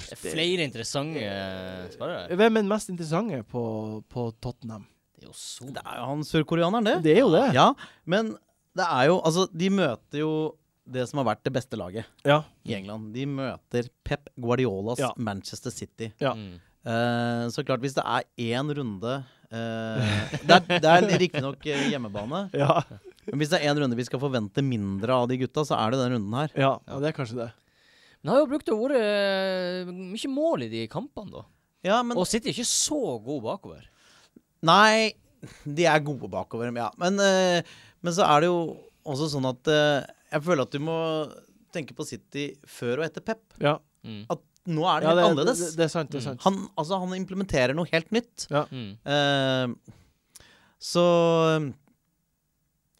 S2: Det er flere interessante spillere.
S1: Hvem er den mest interessante på, på Tottenham?
S2: Det er jo så
S4: Det er jo han sørkoreaneren, det.
S1: Det er jo det.
S4: Ja, men det er jo Altså, de møter jo det som har vært det beste laget
S1: Ja.
S4: i England. De møter Pep Guardiolas
S1: Ja.
S4: Manchester City.
S1: Ja.
S2: Mm.
S4: Eh, så klart, hvis det er én runde eh, Det er, det er riktignok eh, hjemmebane,
S1: Ja.
S4: men hvis det er én runde vi skal forvente mindre av de gutta, så er det den runden her.
S1: ja. ja, det er kanskje det.
S2: Men har jo brukt det ordet eh, mye mål i de kampene, da.
S4: Ja, men
S2: Og City er ikke så god bakover.
S4: Nei, de er gode bakover, ja. Men, eh, men så er det jo også sånn at eh, jeg føler at du må tenke på City før og etter Pep.
S1: Ja,
S2: Mm.
S4: At nå er det
S1: ja
S4: helt
S1: det, det,
S4: annerledes.
S1: det, det er sant. Det er sant.
S4: Han, altså, han implementerer noe helt nytt.
S2: Mm.
S4: Eh, så eh,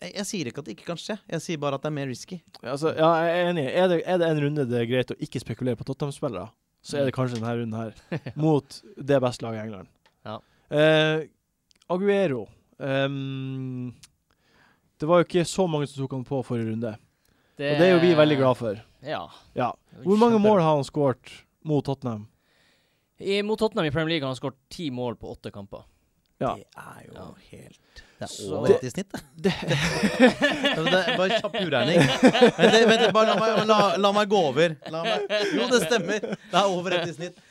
S4: jeg, jeg sier ikke at det ikke kan skje, jeg sier bare at det er mer risky.
S1: Altså, ja, jeg er enig. Er det, er det en runde det er greit å ikke spekulere på Tottenham-spillere, så er det kanskje denne runden [LAUGHS] her, mot det beste laget i England.
S2: Ja.
S1: Eh, Aguero ehm, Det var jo ikke så mange som tok han på forrige runde, og det er jo vi veldig glad for.
S2: Ja.
S1: Ja. Hvor mange mål har han skåret mot Tottenham?
S2: I, mot Tottenham i Premier League har han skåret ti mål på åtte kamper.
S1: Ja.
S4: Det er jo
S2: Ja.
S4: helt Det er
S2: Så-
S4: over dette i snitt, det. [LAUGHS] Ja, men det er bare kjapp uregning. Vent, litt, vent, litt, bare la meg, la, la meg gå over. La meg. Jo, det stemmer. Det er over dette i snitt.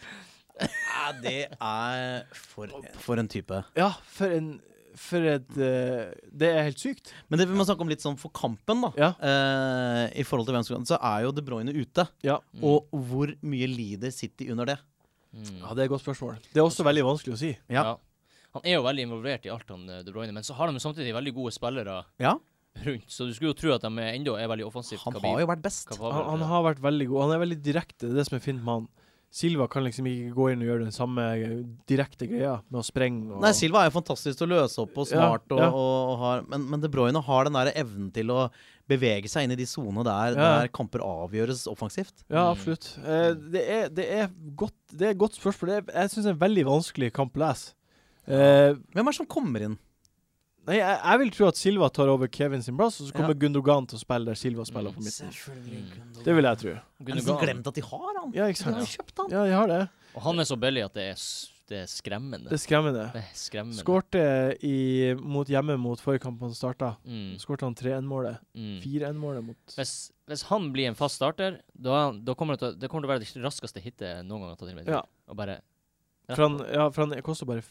S4: Ja, det er for, for en type.
S1: Ja, for en For et eh, Det er helt sykt.
S4: Men det vi må snakke om litt sånn for kampen, da.
S1: Ja.
S4: Eh, I forhold til hvem som kan Så er jo De Bruyne ute.
S1: Ja.
S4: Og hvor mye lider City under det?
S2: Mm.
S1: ja, det er et godt spørsmål. Det er også veldig vanskelig å si.
S4: Ja.
S2: Han er jo veldig involvert i alt, han eh, De Bruyne, men så har de jo samtidig veldig gode spillere
S4: Ja,
S2: rundt, så du skulle jo tro at de er- enda er veldig offensivt
S4: han har jo vært best.
S1: Han, han har vært veldig god. Han er veldig direkte. Det er det som er fint med han. Silva kan liksom ikke gå inn og gjøre den samme eh, direkte greia med å sprenge og
S4: Nei, Silva er jo fantastisk til å løse opp og
S1: Ja,
S4: smart, og,
S1: ja.
S4: og, og har, men, men De Bruyne har den der evnen til å bevege seg inn i de sonene der,
S1: Ja.
S4: der kamper avgjøres offensivt.
S1: Ja, absolutt. Eh, det, er, det, er godt, det er et godt spørsmål. Det er, jeg syns det er en veldig vanskelig kamp å lese. Eh,
S4: Hvem er det som kommer inn?
S1: nei, jeg, jeg vil tro at Silva tar over Kevin sin plass, og så kommer Gundogan til å spille der Silva spiller
S2: Mm.
S1: på midten.
S4: Selvfølgelig.
S1: Det vil jeg tro.
S4: Er det som glemt at de har han?
S1: Ja, ikke
S4: De har
S1: sant?
S4: jo kjøpt han.
S1: Ja, de har det.
S2: Og han er så billig at det er, s- det er
S1: Det
S2: skremmende.
S1: er skremmende.
S2: Det er skremmende.
S1: Skårte i- mot hjemme mot forrige kamp han starta.
S2: Mm,
S1: Skårte han 3-1-målet.
S2: mm.
S1: 4-1-målet mot
S2: Hvis, hvis han blir en fast starter, da, da kommer det, til, å- det kommer til å være det raskeste hitet noen gang har tatt inn med
S1: Ja.
S2: Og bare
S1: For han, ja, for han koster bare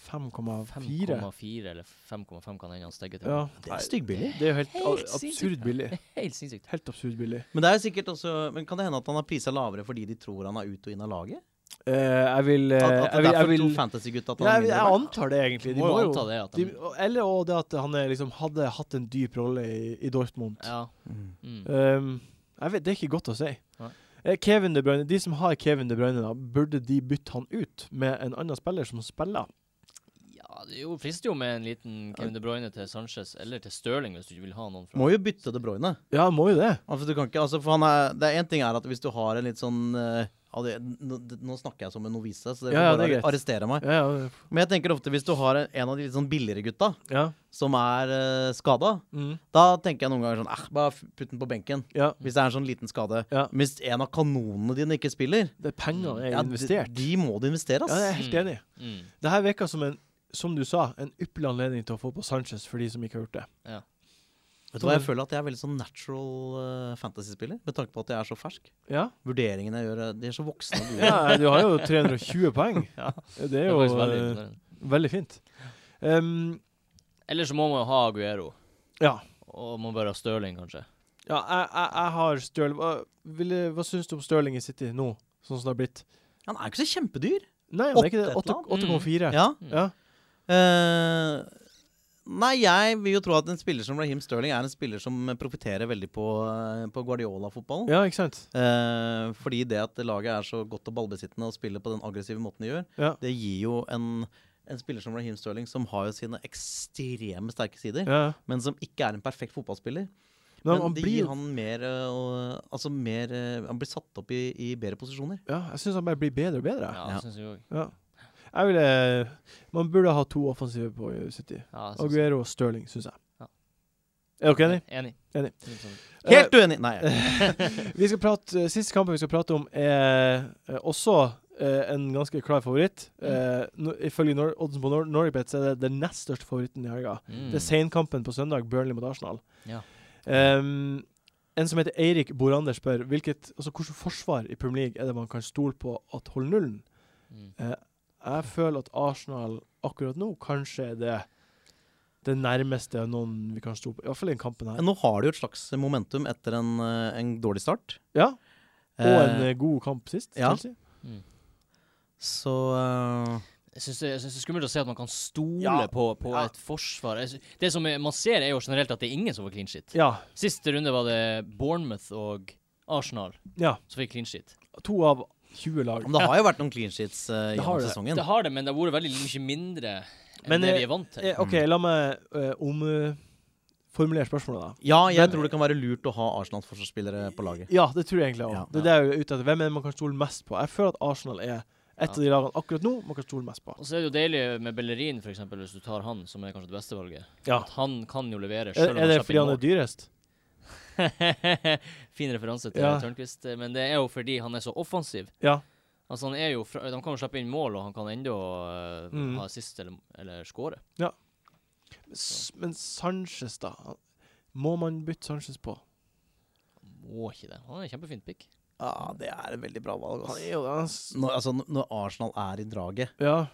S1: 5,4.
S2: 5,4 eller 5,5 kan hende han stegger til.
S1: Ja.
S4: Det er styggbillig.
S1: Det er jo helt,
S2: Helt
S1: a- absurd
S2: sinnssykt.
S1: billig.
S2: Helt sinnssykt.
S1: Helt absurd billig.
S4: Men det er jo sikkert også Men kan det hende at han har prisa lavere fordi de tror han er ut og inn av laget?
S1: Eh, jeg vil eh,
S4: At,
S1: jeg vil,
S4: at det er
S1: jeg
S4: derfor
S1: vil
S4: tror fantasy-gutta at
S1: Nei,
S4: han
S1: jeg,
S4: er mindre
S1: jeg
S4: verdt?
S1: antar det, egentlig.
S2: Du må jo anta det. At
S1: de,
S2: han,
S1: Eller og det at han er liksom hadde hatt en dyp rolle i, i Dortmund.
S2: ja.
S4: Mm.
S2: Mm.
S1: Um, jeg vet, det er ikke godt å si.
S2: Nei.
S1: Eh, Kevin De Bruyne, De som har Kevin De Bruyne, da, burde de bytte han ut med en annen spiller som spiller?
S2: ja, det er jo frister jo med en liten Kevin De Bruyne til Sanchez eller til Stirling hvis du ikke vil ha noen fra
S4: Må jo bytte De Bruyne.
S1: Ja, må jo det.
S4: Altså, du kan ikke, altså, for han er, det er en ting er at hvis du har en litt sånn eh, ja, det- nå, nå snakker jeg som en novise, så dere
S1: Ja, ja,
S4: får bare
S1: det er greit.
S4: arrestere meg.
S1: Ja,
S4: Men jeg tenker ofte hvis du har en- en av de litt sånn billigere gutta
S1: ja. ja.
S4: som er uh, skada,
S1: Mm,
S4: da tenker jeg noen ganger sånn eh, Bare f- putt den på benken.
S1: ja.
S4: Hvis det er en sånn liten skade.
S1: Ja.
S4: Hvis en av kanonene dine ikke spiller,
S1: Det er pengene er
S4: ja, d-
S1: investert.
S4: de må du investere,
S1: Ja, det er jeg
S4: ass.
S1: helt enig i.
S2: mm.
S1: Det her virker som en som du sa, en ypperlig anledning til å få på Sanchez for de som ikke har gjort det.
S4: Vet du hva, jeg føler at jeg er veldig sånn natural eh, fantasy-spiller, med tanke på at jeg er så fersk.
S1: Ja,
S4: Vurderingene jeg gjør, eh, de er så voksne og gode.
S1: ja du har jo 320 poeng. Det
S2: Det
S1: er
S2: er
S1: jo
S2: faktisk veldig
S1: eh,
S2: imponerende.
S1: veldig fint. Um,
S2: Eller så må man jo ha Aguero.
S1: Ja. ja
S2: Og man bør ha Stirling, kanskje.
S1: jeg, jeg, jeg har Stirling Hva, ville, hva syns du om Stirling i City nå, sånn som det har blitt?
S4: Han er jo ikke så kjempedyr.
S1: Nei, han er ikke det.
S4: Åtte et
S1: Åtte-
S4: eller
S1: 8,4.
S4: Ja.
S1: Ja.
S4: Eh, nei, jeg vil jo tro at en spiller som Raheem Sterling er en spiller som profitterer veldig på, eh, på Guardiola-fotballen.
S1: ja, ikke sant?
S4: Eh, fordi det at laget er så godt og ballbesittende og spiller på den aggressive måten de gjør,
S1: Ja.
S4: det gir jo en, en spiller som Raheem Sterling, som har jo sine ekstreme sterke sider,
S1: Ja.
S4: men som ikke er en perfekt fotballspiller.
S1: Men han,
S4: Men
S1: han
S4: det
S1: blir
S4: gir han mer eh, og, Altså mer eh, Han blir satt opp i, i bedre posisjoner.
S1: Ja, jeg syns han bare blir bedre og bedre.
S2: Ja,
S4: Ja.
S2: det synes jeg òg.
S1: Ja. Jeg ville Man burde ha to offensive på eh, City.
S2: Ja, det synes jeg.
S1: Aguero og Stirling, syns jeg.
S2: Ja.
S1: Er dere enig?
S2: Enig.
S1: Enig.
S4: Helt uenig! Eh, Nei.
S1: [LAUGHS] Vi skal prate, eh, Siste kampen vi skal prate om, er eh, også eh, en ganske klar favoritt.
S2: Mm.
S1: Eh, no, ifølge Nor oddsen på Nor Norwegbet så er det den nest største favoritten i helga.
S2: Mm.
S1: Det er senkampen på søndag, Burnley mot Arsenal.
S2: Ja.
S1: Ehm, en som heter Eirik Borander spør hvilket, altså, hvilket forsvar i Premier League er det man kan stole på at holder nullen.
S2: Mm.
S1: Jeg føler at Arsenal akkurat nå kanskje er det det nærmeste noen vi kan stole på. I hvert fall i den kampen her.
S4: Nå har de jo et slags momentum etter en, eh, en dårlig start.
S1: Ja, og en
S4: Eh,
S1: eh, god kamp sist.
S4: ja.
S1: Chelsea.
S2: Mm.
S4: Så eh,
S2: Jeg syns det, jeg synes det er skummelt å se at man kan stole
S4: Ja.
S2: på, på
S4: Ja.
S2: et forsvar. Jeg synes, det som er- man ser, er jo generelt at det er ingen som får clean shit.
S1: ja.
S2: Siste runde var det Bournemouth og Arsenal
S1: Ja.
S2: som fikk clean shit.
S1: To av 20 lag.
S4: Men det har jo vært noen clean sheets eh,
S1: Det har
S4: gjennom
S1: det.
S4: sesongen.
S2: Det har det, men det har vært veldig mye mindre enn
S1: Men,
S2: det
S1: eh,
S2: vi er vant til.
S1: Eh, OK, la meg eh, omformulere spørsmålet, da.
S4: Ja, jeg
S1: Men-
S4: tror det kan være lurt å ha Arsenals forsvarsspillere på laget.
S1: Ja, det tror jeg egentlig òg.
S4: Ja.
S1: Det er det jeg er ute etter. Hvem er det man kan stole mest på? Jeg føler at Arsenal er et av de lagene akkurat nå man kan stole mest på.
S2: Og så er det jo deilig med Bellerin, for eksempel, hvis du tar han, som er kanskje det beste valget.
S1: Ja.
S2: At han kan jo
S1: Er,
S2: levere, sjøl om
S1: er det
S2: han
S1: fordi han
S2: slipper
S1: er dyrest?
S2: inn mål. [LAUGHS] fin referanse til
S1: Ja.
S2: Tørnquist, eh, men det er jo fordi han er så offensiv.
S1: Ja.
S2: Altså han er jo fra, De kan jo slippe inn mål, og han kan ennå eh,
S1: Mm.
S2: ha assist eller, eller score.
S1: S- Men Sanchez, da? Han- Må man bytte Sanchez på?
S2: Må ikke det. Han er en kjempefint pick.
S4: Ja, det er et veldig bra valg.
S1: Han er jo det. han s-
S4: Når, altså, når Arsenal er i draget,
S1: Ja.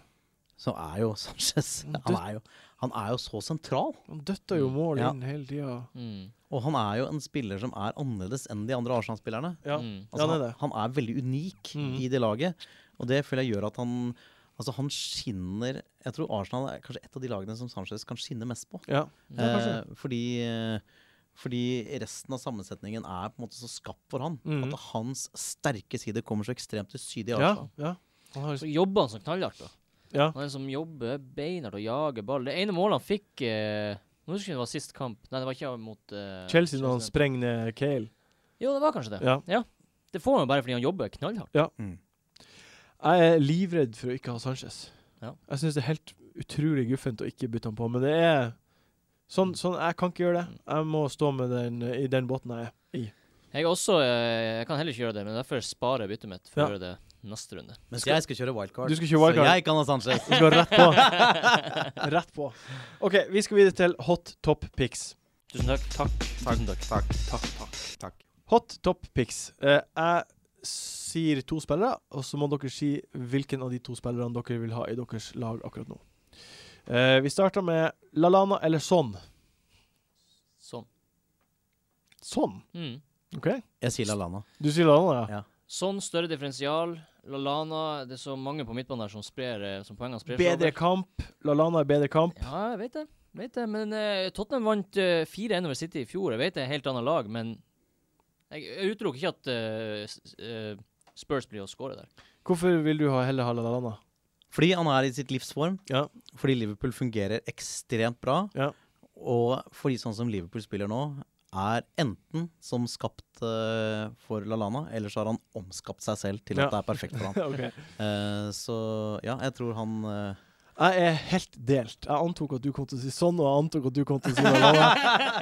S4: så er jo [LAUGHS] Sanchez Han er jo, han er jo så sentral.
S1: Han døtter jo mål
S4: Ja.
S1: inn hele tida.
S2: Mm.
S4: Og han er jo en spiller som er annerledes enn de andre Arsenal-spillerne.
S1: Ja. Ja,
S2: Mm.
S4: Altså,
S1: han er
S4: han,
S1: det.
S4: han er veldig unik
S1: Mhm.
S4: i det laget, og det føler jeg gjør at han Altså, han skinner Jeg tror Arsenal er kanskje et av de lagene som Sanchez kan skinne mest på.
S1: ja. Ja, kanskje.
S4: Eh, fordi, eh, fordi resten av sammensetningen er på en måte så skapt for han.
S1: Mhm.
S4: At hans sterke side kommer så ekstremt til syde
S1: ja,
S4: i Arsenal.
S1: ja. Han har,
S2: Så jobber han som knallhardt. da.
S1: ja.
S2: Han er en som jobber beinhardt og jager ball. Det ene målet han fikk eh, Nå husker jeg det var sist kamp. Nei, det var ikke mot eh,
S1: Chelsea når han sprenger ned Kale.
S2: Jo, det var kanskje det.
S1: Ja.
S2: Det får han jo bare fordi han jobber knallhardt.
S1: Jeg er livredd for å ikke ha Sanchez.
S2: Ja.
S1: Jeg syns det er helt utrolig guffent å ikke bytte han på, men det er sånn, sånn Jeg kan ikke gjøre det. Jeg må stå med den eh, i den båten jeg er.
S2: Jeg, er også, eh, jeg kan heller ikke gjøre det, men derfor sparer jeg byttet mitt for
S1: Ja.
S2: å gjøre det neste runde.
S4: Mens jeg skal kjøre wildcard,
S1: Du skal kjøre wildcard.
S4: så jeg kan ha Sanchez.
S1: Vi skal rett [LAUGHS] på. rett på. OK, vi skal videre til hot top picks.
S2: Tusen takk. Takk. Tusen takk.
S1: Hot top picks. Eh, jeg sier to spillere, og så må dere si hvilken av de to spillerne dere vil ha i deres lag akkurat nå. Eh, vi starter med Lalana eller Son.
S2: Sånn.
S1: Son?
S2: Mm.
S1: OK?
S4: Jeg sier Lallana.
S1: Du sier Lalana, ja?
S2: Sånn større differensial. Lalana Det er så mange på midtbanen her som sprer eh, Som poengene sprer seg
S1: Bedre
S2: over.
S1: kamp. Lalana er bedre kamp.
S2: Ja, jeg vet det. Vet det. Men eh, Tottenham vant eh, 4-1 over City i fjor. Jeg vet det er et helt annet lag, men jeg, jeg utelukker ikke at eh, s- eh, Spurs blir å score der.
S1: Hvorfor vil du ha heller ha Lalana?
S4: Fordi han er i sitt livs form.
S1: Ja.
S4: Fordi Liverpool fungerer ekstremt bra.
S1: Ja.
S4: Og fordi sånn som Liverpool spiller nå, er enten som skapt eh, for Lallana, eller så har han omskapt seg selv til at
S1: Ja.
S4: det er perfekt
S1: [LAUGHS]
S4: for han.
S1: Ok.
S4: Eh, så ja, jeg tror han eh,
S1: Jeg er helt delt. Jeg antok at du kom til å si Son, og jeg antok at du kom til å si Lalana.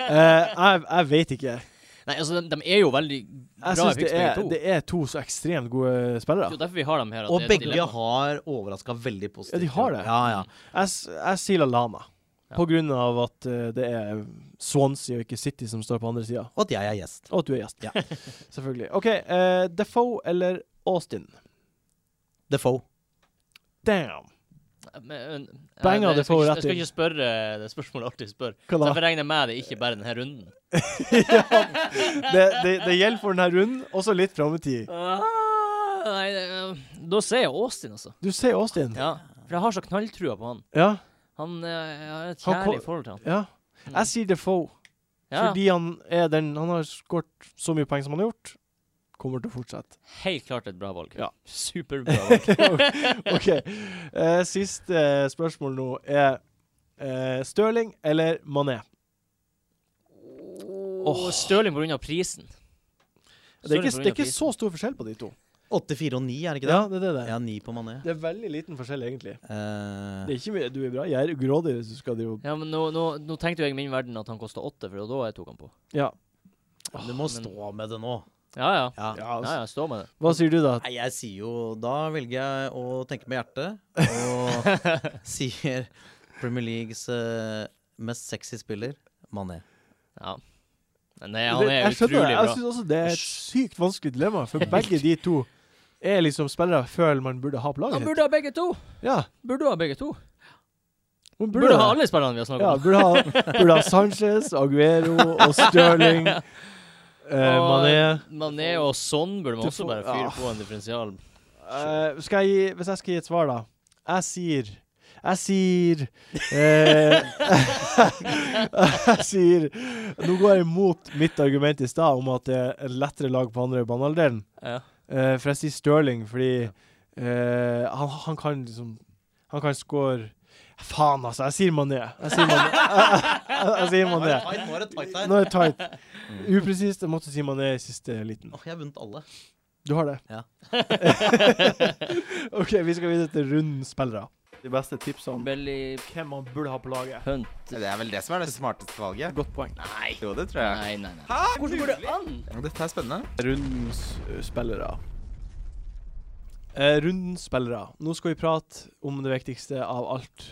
S1: Eh, jeg, jeg vet ikke.
S2: [LAUGHS] Nei, altså, de, de er jo veldig bra
S1: Jeg syns det,
S2: picks, begge
S1: er-
S2: to.
S1: det er to så ekstremt gode
S2: Det
S1: spillere.
S2: er jo derfor vi har dem her.
S4: Og
S2: at det er et
S4: begge
S2: dilemma.
S4: har overraska veldig positivt.
S1: Ja, de har det.
S4: Ja, ja.
S1: Jeg, s- jeg sier Lallana.
S2: Ja.
S1: På grunn av at eh, det er Swansea og ikke City som står på andre sida.
S4: Og at jeg er gjest.
S1: Og at du er gjest.
S4: Ja.
S1: [LAUGHS] Selvfølgelig. OK, eh, Defoe eller Austin?
S4: Defoe.
S1: Damn!
S2: Men, eh, men-
S1: Banger
S2: Nei,
S1: det
S2: jeg skal
S1: får
S2: ikke-
S1: rett
S2: Jeg skal
S1: inn.
S2: ikke spørre eh, det er spørsmålet jeg alltid spør.
S1: Hva
S2: Så
S1: da?
S2: jeg regner med [LAUGHS] det ikke bare denne runden.
S1: Det, det, det gjelder for denne runden, også litt fram i tid.
S2: Ah, nei, det- da sier jeg Austin, altså.
S1: Du sier Austin.
S2: Ja, for jeg har så knalltrua på han.
S1: Ja.
S2: Han eh, Jeg har et
S1: Han
S2: kjærlig
S1: ko-
S2: forhold til han.
S1: ja. Jeg sier Defoe
S2: Mm. Ja,
S1: fordi han er den Han har skåret så mye poeng som han har gjort. Kommer til å
S2: [LAUGHS]
S1: fortsette.
S2: helt klart et bra valg.
S1: Ja.
S2: Superbra [LAUGHS] valg.
S1: OK. Eh, siste spørsmål nå er eh, Stirling eller Mané?
S2: Og Stirling på grunn av prisen.
S1: Det er, ikke,
S2: Stirling på grunn
S1: det er
S2: av
S1: ikke
S2: prisen.
S1: så stor forskjell på de to.
S4: 8-4 og 9, er det ikke det?
S1: Ja, det er det det.
S4: Jeg
S1: er.
S4: har 9 på Mané.
S1: Det er veldig liten forskjell, egentlig.
S4: Eh,
S1: Det er ikke mye, Du er bra. Jeg er grådig hvis du skal drive og
S2: Ja, men nå, nå, nå tenkte jo jeg i min verden at han kosta åtte, for det var da jeg tok han på.
S1: Ja.
S4: du må stå med det nå.
S2: Ja, ja.
S4: Ja.
S1: Ah, ja
S2: Ja,
S1: altså.
S2: ja, stå med det.
S1: Hva sier du, da?
S4: Nei, jeg sier jo Da velger jeg å tenke med hjertet
S1: [LAUGHS]
S4: og sier Premier Leagues eh, mest sexy spiller, Mané.
S2: Ja. Nei, han er
S1: jeg skjønner det.
S2: utrolig
S1: Jeg
S2: bra.
S1: syns også det er et sykt vanskelig dilemma, for begge de to er liksom spillere jeg føler man burde ha på laget.
S2: Han burde ha begge to!
S1: sitt. Ja,
S2: Burde ha begge to.
S1: man burde,
S2: Burde ha
S1: det.
S2: alle spillerne vi har snakket
S1: Ja,
S2: om.
S1: burde ha, burde ha Sanchez, Aguero og Stirling. Eh,
S2: Og
S1: Mané.
S2: Mané og Son burde man
S1: Du
S2: også
S1: får- Ah.
S2: bare fyre
S1: ja.
S2: på en differensial.
S1: Eh, skal jeg gi, hvis jeg skal gi et svar, da. Jeg sier Jeg sier eh, [LAUGHS] Jeg sier Nå går jeg imot mitt argument i stad om at det er et lettere lag på andre banehalvdelen.
S2: Ja.
S1: Eh, for jeg sier Stirling fordi eh, han, han kan liksom Han kan score Faen, altså. Jeg sier Mané. Jeg sier Mané. [LAUGHS] Jeg, jeg, jeg sier
S4: Nå er
S1: Mané.
S4: det tight, nå er det tight der.
S1: Nå er det tight. Upresist. Jeg måtte si Mané i siste liten.
S4: Åh, jeg har vunnet alle.
S1: Du har det?
S4: Ja.
S1: [LAUGHS] OK, vi skal videre til rundens spillere. De beste tipsene om
S2: Belly
S1: hvem man burde ha på laget.
S2: Punt.
S3: Det er vel det som er det smarteste valget.
S1: Godt poeng.
S2: Nei.
S3: Jo, det tror jeg.
S2: Nei, nei, nei. Hvordan går det an?
S3: Dette er spennende.
S1: Rundens eh, spillere. Eh, rundens spillere. Nå skal vi prate om det viktigste av alt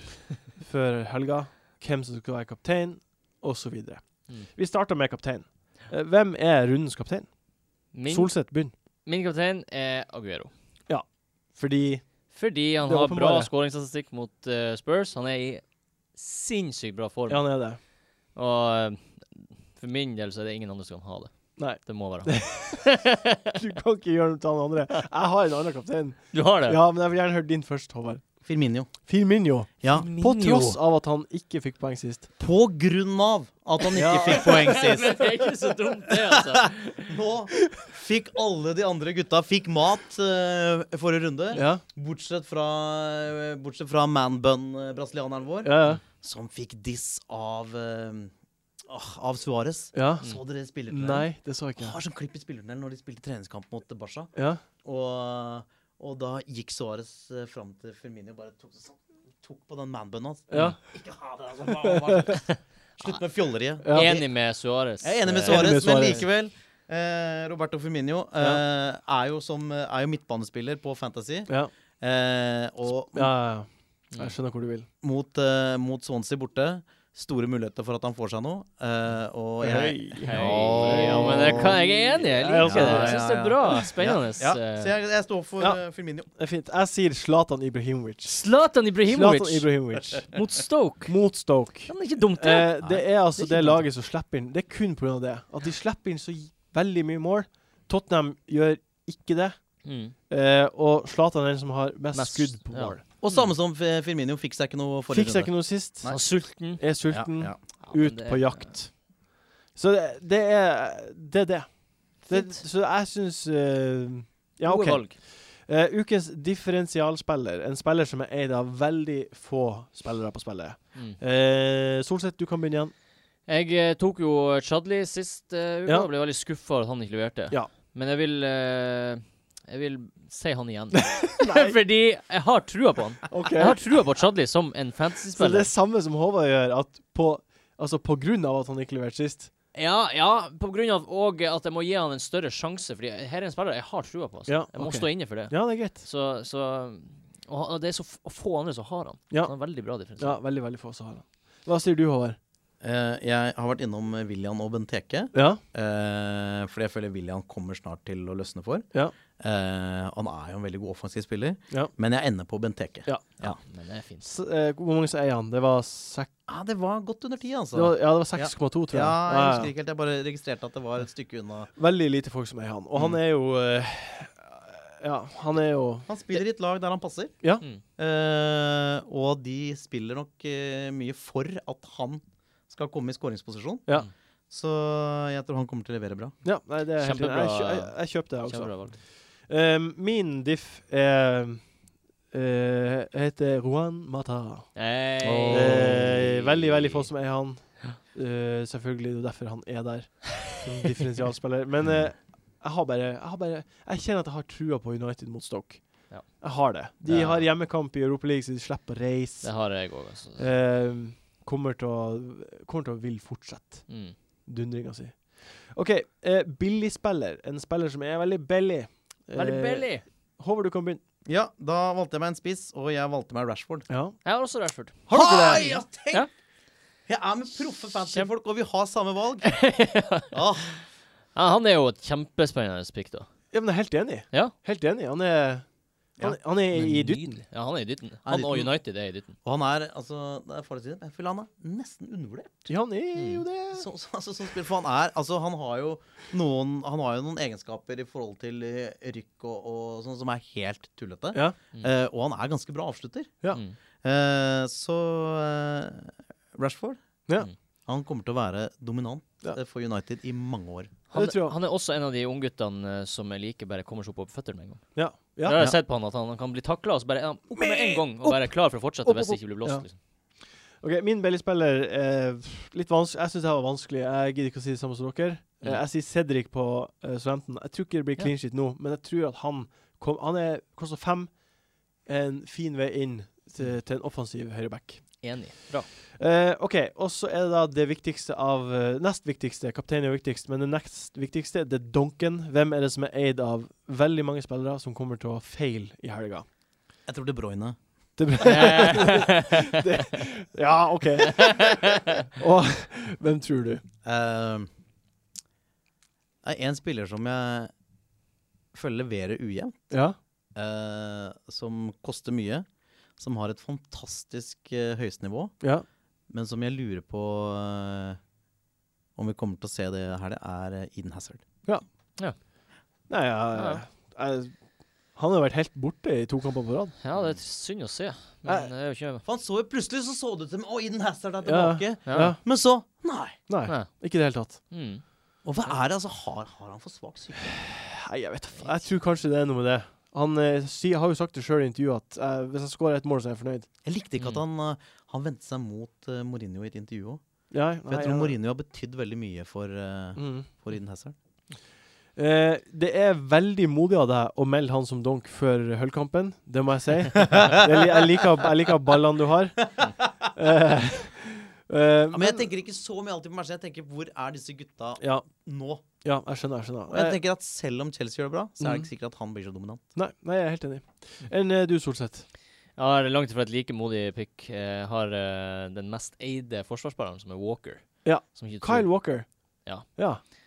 S1: før helga. Hvem som skal være kaptein, osv.
S2: Mm.
S1: Vi starter med kaptein. Eh, hvem er rundens kaptein?
S2: Min,
S1: Solseth begynner.
S2: min kaptein er Aguero.
S1: Fordi
S2: Fordi han
S1: Det er
S2: har bra
S1: åpenbare.
S2: skåringsstatistikk mot eh, Spurs. Han er i sinnssykt bra form.
S1: Ja, han er det. [LAUGHS]
S2: Og eh, for min del så er det ingen andre som kan ha det.
S1: Nei.
S2: Det må
S1: [LAUGHS]
S2: være han.
S1: Du kan ikke gjøre noe til han andre. Jeg har en annen kaptein.
S2: [LAUGHS] Du har det?
S1: Ja, men jeg vil gjerne høre din først, Håvard.
S4: Firminio.
S1: Firminio.
S4: Ja.
S1: På tross av at han ikke fikk poeng sist.
S4: På grunn av at han ikke
S1: Ja.
S4: fikk
S2: [LAUGHS]
S1: [LAUGHS]
S4: poeng
S2: Men
S4: sist.
S2: det er ikke så dumt, det,
S4: [LAUGHS]
S2: altså.
S4: Nå fikk alle de andre gutta fikk mat eh, forrige runde.
S1: Ja,
S4: Bortsett fra, eh, bortsett fra manbun-brasilianeren vår,
S1: ja,
S4: som fikk diss av eh, ah, Av Suárez.
S1: ja.
S4: Så dere spillertunnelen?
S1: Nei, det så jeg
S4: Han
S1: ikke.
S4: Har sånn klipp i spillertunnelen når de spilte treningskamp mot Barca.
S1: Ja.
S4: Og, og da gikk Suárez eh, fram til Firmino og bare tok, sånn, tok på den manbunnen hans.
S1: Ja.
S4: Ikke ha det, altså. Hva- hva- hva- Slutt med fjolleriet.
S1: Ja.
S2: Enig med Suárez.
S4: Jeg er enig med
S1: Suárez.
S4: Suárez, men
S1: Eh, Suárez.
S4: likevel eh, Roberto Firmino eh, er, jo som, er jo midtbanespiller på Fantasy.
S1: Ja.
S4: Eh, og
S1: Ja, ja, ja. Jeg skjønner hvor du vil.
S4: mot, eh, mot Swansea borte. Store muligheter for at han får seg noe. Eh, og jeg,
S2: Ja, men det kan, jeg er enig. Jeg
S1: Ja,
S2: liker det. Jeg
S4: ja,
S2: syns det
S4: ja.
S2: er bra. Spennende. Eh,
S4: ja, så jeg, jeg står for
S1: Ja.
S4: eh, Firmino.
S1: Det er fint. Jeg sier Zlatan Ibrahimovic.
S2: Zlatan
S1: Zlatan
S2: Ibrahimovic
S1: Ibrahimovic
S2: mot Stoke.
S1: mot Stoke.
S2: Ja, men Det er ikke dumt, det.
S1: Eh, det er altså
S2: det er ikke
S1: det
S2: dumt,
S1: laget som slipper inn. Det er kun pga. det. At de slipper inn så j- veldig mye mål. Tottenham gjør ikke det.
S2: Mm.
S1: Eh, og Zlatan er den som har mest
S2: Mest,
S1: skudd på
S2: ja.
S1: mål.
S4: Og samme som F- Firmino, fikk seg ikke noe forrige
S1: Fikk seg ikke noe sist.
S2: Han er sulten.
S1: Er sulten.
S4: Ja, ja.
S2: Ja, men
S1: Ut
S2: det-
S1: på jakt. Så det, det er det. er det. det
S2: Fint.
S1: så jeg syns eh, Ja,
S2: Gode
S1: OK.
S2: valg.
S1: Eh, ukens differensialspiller. En spiller som er eid av veldig få spillere på spillet.
S2: Mm.
S1: Eh, Solseth, du kan begynne
S2: [LAUGHS]
S1: igjen.
S2: Jeg eh, tok jo Chadli sist eh, uke
S1: Ja.
S2: og ble veldig skuffa at han ikke leverte.
S1: Ja.
S2: Men jeg vil eh, Jeg vil si han igjen. [LAUGHS] Fordi jeg har trua på han.
S1: Ok.
S2: Jeg har trua på Chadli som en
S1: Så det er
S2: fantasyspiller.
S1: samme som Håvard gjør, at på, altså på grunn av at han ikke leverte sist.
S2: Ja, ja, på grunn av og at jeg må gi han en større sjanse, Fordi her er en spiller jeg har trua på. Altså.
S1: Ja,
S2: Jeg må
S1: ok.
S2: stå inne for det.
S1: Ja, det er greit.
S2: Så, så og, han- og det er så f få andre som har han.
S1: Ja.
S2: Så Han er veldig bra differensiert.
S1: Ja, veldig, veldig få som har han. Hva sier du, Håvard?
S4: Eh, jeg har vært innom eh, William og Benteke.
S1: Ja?
S4: Eh, fordi jeg føler William kommer snart til å løsne for.
S1: Ja.
S4: Eh, han er jo en veldig god offensiv spiller,
S1: Ja.
S4: men jeg ender på Benteke.
S1: Ja.
S4: Ja.
S2: Men det er fint.
S1: S eh, hvor mange som eier han? Det var sek
S4: Ja, det var godt under ti, altså.
S1: det var, ja, det var 6,2, tror jeg.
S4: ja, jeg
S1: Ja, ja.
S4: husker ikke helt. Jeg bare registrerte at det var et stykke unna.
S1: Veldig lite folk som eier han. Og han
S2: Mm.
S1: er jo eh, Ja, han er jo
S4: Han spiller i et lag der han passer,
S1: Ja.
S2: Mm.
S4: eh, og de spiller nok eh, mye for at han skal komme i skåringsposisjon.
S1: Ja.
S4: Så jeg tror han kommer til å levere bra.
S1: Ja, nei, det er helt
S2: Kjempebra.
S1: Jeg, kjø- jeg, jeg kjøpte det også.
S2: Kjempebra valg.
S1: Um, min diff er eh, heter Juan Mata.
S2: Hey.
S1: Eh, veldig, veldig få som er han. Eh, selvfølgelig, det er derfor han er der som differensialspiller. Men eh, jeg har bare Jeg har bare Jeg kjenner at jeg har trua på United mot Stoke.
S2: Ja.
S1: Jeg har det. De
S2: Ja.
S1: har hjemmekamp i Europaligaen, så de slipper å
S2: Det
S1: reise.
S2: har jeg òg, altså.
S1: Eh, kommer til å Kommer til å vil fortsette
S2: Mm.
S1: dundringa si. OK, eh, billigspiller. En spiller som er veldig billig.
S2: Veldig
S1: Eh,
S2: billig.
S1: Håvard, du kan begynne.
S4: Ja, da valgte jeg meg en spiss, og jeg valgte meg Rashford.
S1: Ja.
S2: Jeg har også Rashford.
S1: Har dere det?
S4: Hei, ja, tenk!
S2: Ja.
S4: Jeg er med proffe fantasyfolk, og vi har
S1: [LAUGHS]
S4: samme valg. Ah, Åh,
S2: Ja, han er jo et kjempespennende pick, da.
S1: Ja, men jeg er helt enig.
S2: Ja.
S1: Helt enig. Han er, han, han er i dytten.
S2: Nydelig. Ja, han er i dytten. Han og
S4: dytten.
S2: United er i dytten.
S4: og han er altså, det er farlig å si det, men jeg føler han er nesten undervurdert.
S1: Ja, han er jo det.
S4: Så, så, altså, som spiller, for han er altså, han, har jo noen, han har jo noen egenskaper i forhold til eh, rykk og, og sånn som er helt tullete.
S1: Ja.
S4: Eh, og han er ganske bra avslutter.
S1: Ja.
S2: Mm.
S4: Eh, så eh, Rashford
S1: Ja.
S4: Han kommer til å være dominant
S1: Ja.
S4: eh, for United i mange år.
S2: Han,
S1: Det tror jeg.
S2: han er også en av de ungguttene eh, som jeg liker bare kommer seg opp på føttene med en gang.
S1: Ja.
S2: Det
S1: ja.
S2: har jeg sett på han, at han kan bli takla og så bare er han opp med en gang og være klar for å fortsette
S1: Opp,
S2: hvis
S1: opp,
S2: det ikke blir blåst.
S1: Ja.
S2: Liksom.
S1: OK, min bellyspiller er litt vanskelig. Jeg syns det her var vanskelig. Jeg gidder ikke å si det samme som dere. Eh,
S2: Mm.
S1: Jeg sier Cedric på uh, Southampton. Jeg tror ikke det blir
S2: Ja.
S1: clean shit nå, men jeg tror at han kom, Han er koster fem. En fin vei inn til, til en offensiv høyreback.
S2: Enig. Bra.
S1: Eh, OK, og så er det da det viktigste av eh, Nest viktigste. Kapteinen er viktigst, men det nest viktigste, det er Duncan. Hvem er det som er eid av veldig mange spillere som kommer til å feile i helga?
S4: Jeg tror De Bruyne
S1: Det blir [LAUGHS]
S2: Eh,
S1: det, Ja, OK. Og hvem tror du?
S4: eh, Det er en spiller som jeg føler leverer ujevnt,
S1: Ja.
S4: eh, som koster mye. Som har et fantastisk eh, høyestnivå,
S1: ja.
S4: men som jeg lurer på eh, om vi kommer til å se det her, det er eh, Eden Hazard.
S1: Nei, jeg,
S2: Ja,
S1: jeg, han har vært helt borte i to kamper på rad.
S2: ja, det er synd å se, men det er jo ikke
S4: For han så jo plutselig så så det ut som Å, Eden Hazard er
S1: Ja.
S4: tilbake.
S2: Ja.
S1: Ja.
S4: Men så Nei.
S1: Nei,
S2: Nei.
S1: ikke i det hele tatt.
S2: Mm.
S4: Og hva er det altså? Har, har han for svak psyke?
S1: Nei, jeg vet da faen. Jeg tror kanskje det er noe med det. Han eh, si, har jo sagt det sjøl i intervjuet at eh, hvis jeg skårer ett mål, så er jeg fornøyd.
S4: Jeg likte ikke at han, eh, han vendte seg mot eh, Mourinho i et intervju òg.
S1: Nei,
S4: For
S1: nei,
S4: jeg tror
S1: ja.
S4: Mourinho har betydd veldig mye for, eh,
S1: Mm.
S4: for Eden Hazard.
S1: Eh, det er veldig modig av deg å melde han som donk før høllkampen, det må jeg si. Jeg, li- jeg, liker, jeg liker ballene du har. Eh, eh,
S4: Ja, men jeg tenker ikke så mye alltid på Manchester, jeg tenker hvor er disse gutta
S1: ja,
S4: nå?
S1: ja, jeg skjønner. jeg skjønner
S4: Og jeg
S1: Eh,
S4: tenker at selv om Chelsea gjør det bra, så er det
S1: Mm.
S4: ikke sikkert at han blir så dominant.
S1: Eh, nei, nei, jeg er helt enig. Enn eh, du, Solseth?
S2: Jeg har langt ifra et like modig pick. Jeg har eh, den mest eide forsvarsspilleren, som er Walker.
S1: Ja.
S2: Som ikke tror,
S1: Kyle Walker.
S2: Ja.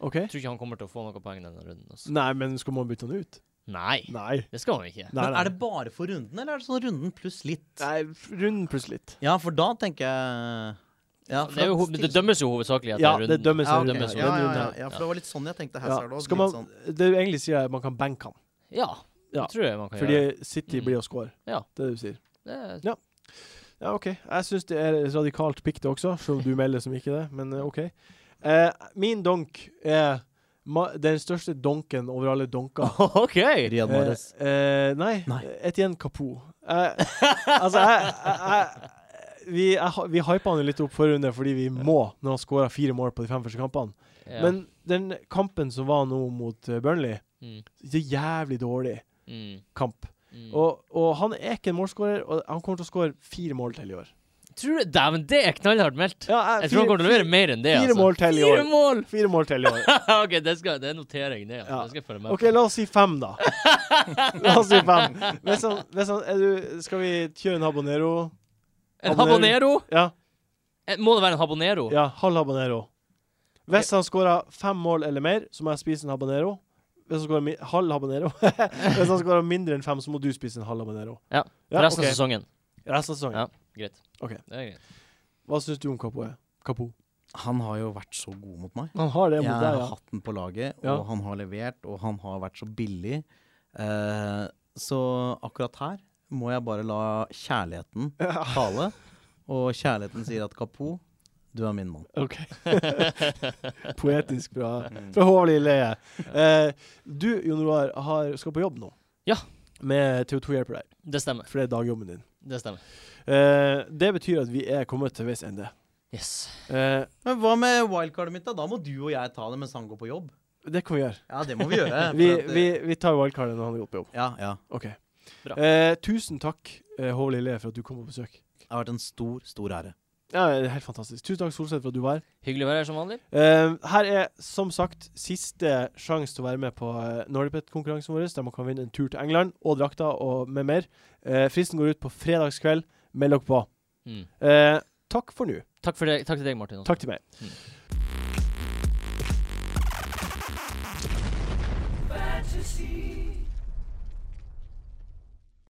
S1: OK?
S2: jeg tror ikke han kommer til å få noen poeng denne runden. Altså.
S1: Nei, men skal man bytte han ut?
S2: Nei,
S1: Nei.
S2: det skal han ikke.
S1: nei,
S4: men
S1: nei.
S4: er det bare for runden, eller er det sånn runden pluss litt?
S1: Nei, runden pluss litt.
S4: Ja, for da tenker jeg ja, for
S2: Det, er jo,
S4: at-
S2: ho- det dømmes jo hovedsakelig etter
S1: Ja,
S2: runden.
S1: det dømmes
S4: ja, ok.
S1: i runden.
S2: dømmes
S4: ja, ja,
S1: runden
S4: ja,
S1: her.
S4: ja, for det var litt sånn jeg tenkte
S1: Ja,
S4: Hazard også,
S1: skal
S4: litt sånn,
S1: man, det du egentlig sier, er at man kan benke han.
S2: Ja,
S1: Ja.
S2: det tror jeg man kan
S1: Fordi
S2: gjøre.
S1: City
S2: Mm.
S1: blir å score.
S2: Ja.
S1: Det er det du sier.
S2: Det
S1: [LAUGHS]
S2: er,
S1: Ja, OK. Jeg syns det er et radikalt pick, det også, selv om du melder som ikke det, men eh, OK. Eh, min donk er ma den største donken over alle donker.
S2: OK!
S4: sånn Riyad
S1: Eh,
S4: Mahrez.
S1: eh, nei.
S4: Nei.
S1: Etienne Kapo. Eh, altså, jeg, jeg, jeg vi, jeg, ha- vi hypa han jo litt opp forrige runde fordi vi må, når han skåra fire mål på de fem første kampene.
S2: Ja.
S1: Men den kampen som var nå mot eh, Burnley,
S2: Mm,
S1: det er jævlig dårlig
S2: mm,
S1: kamp.
S2: mm.
S1: Og, og han er ikke en målskårer, og han kommer til å skåre fire mål til i år.
S2: Tror du Dæven, det er knallhardt meldt!
S1: Ja,
S2: Jeg tror han kommer til å levere mer enn det. altså.
S1: fire mål til i
S2: Fire
S1: år.
S2: mål! [LAUGHS]
S1: Fire mål [LAUGHS] til i år.
S2: OK, det, skal, det er notering, det. Altså.
S1: Ja.
S2: Det skal jeg følge med
S1: OK, la oss si fem, [LAUGHS] da. La oss si fem. Hvis han, hvis han, er du, skal vi kjøre en habanero?
S2: En habanero?
S1: Ja,
S2: Eh, Må det være en habanero?
S1: ja halv habanero. Hvis han skårer fem mål eller mer, så må jeg spise en habanero. Hvis han skårer mi- halv habanero [LAUGHS] Hvis han skårer mindre enn fem, så må du spise en halv habanero.
S2: Ja,
S1: ja
S2: Resten
S1: ok.
S2: av sesongen.
S1: Resten av sesongen.
S2: Ja. Greit.
S1: Ok.
S2: Det er greit.
S1: Hva syns du om Kapo? Kapo?
S4: Han har jo vært så god mot meg.
S1: Han har det
S4: Jeg
S1: mot
S4: har
S1: deg, ja.
S4: hatt den på laget, og
S1: Ja.
S4: han har levert, og han har vært så billig. Eh, så akkurat her må jeg bare la kjærligheten tale. Og kjærligheten sier at Kapo, du er min mann. [LAUGHS]
S1: OK. Poetisk fra,
S4: Mm.
S1: fra Håvard Lilleheie. Eh, du, Jon Roar, har, skal på jobb nå.
S2: Ja.
S1: Med TV2 hjelper deg,
S2: Det stemmer.
S1: for det er dagjobben din.
S2: Det stemmer.
S1: Eh, det betyr at vi er kommet til veis ende.
S2: Yes.
S1: Eh,
S4: Men hva med wildcardet mitt, da? Da må du og jeg ta det mens han går på jobb.
S1: det kan vi gjøre.
S4: Ja, det må [LAUGHS] vi gjøre. for
S1: Vi,
S4: at, eh,
S1: vi, vi tar wildcardet når han har gått på jobb.
S4: Ja, ja.
S1: OK.
S2: Bra.
S1: Eh, tusen takk, eh, Håvard Lilleheie, for at du kom på besøk.
S4: Det har vært en stor, stor ære.
S1: Ja, det er Helt fantastisk. Tusen takk, Solseth, for at du var her.
S2: Hyggelig å være her som vanlig.
S1: Eh, her er som sagt siste sjanse til å være med på uh, Nordipet-konkurransen vår, der man kan vinne en tur til England og drakter og med mer. Eh, fristen går ut på fredagskveld. Meld dere på.
S2: Mm.
S1: Eh, takk for nå.
S2: Takk, for det, takk til deg, Martin. også.
S1: Takk til meg.
S5: fantasy.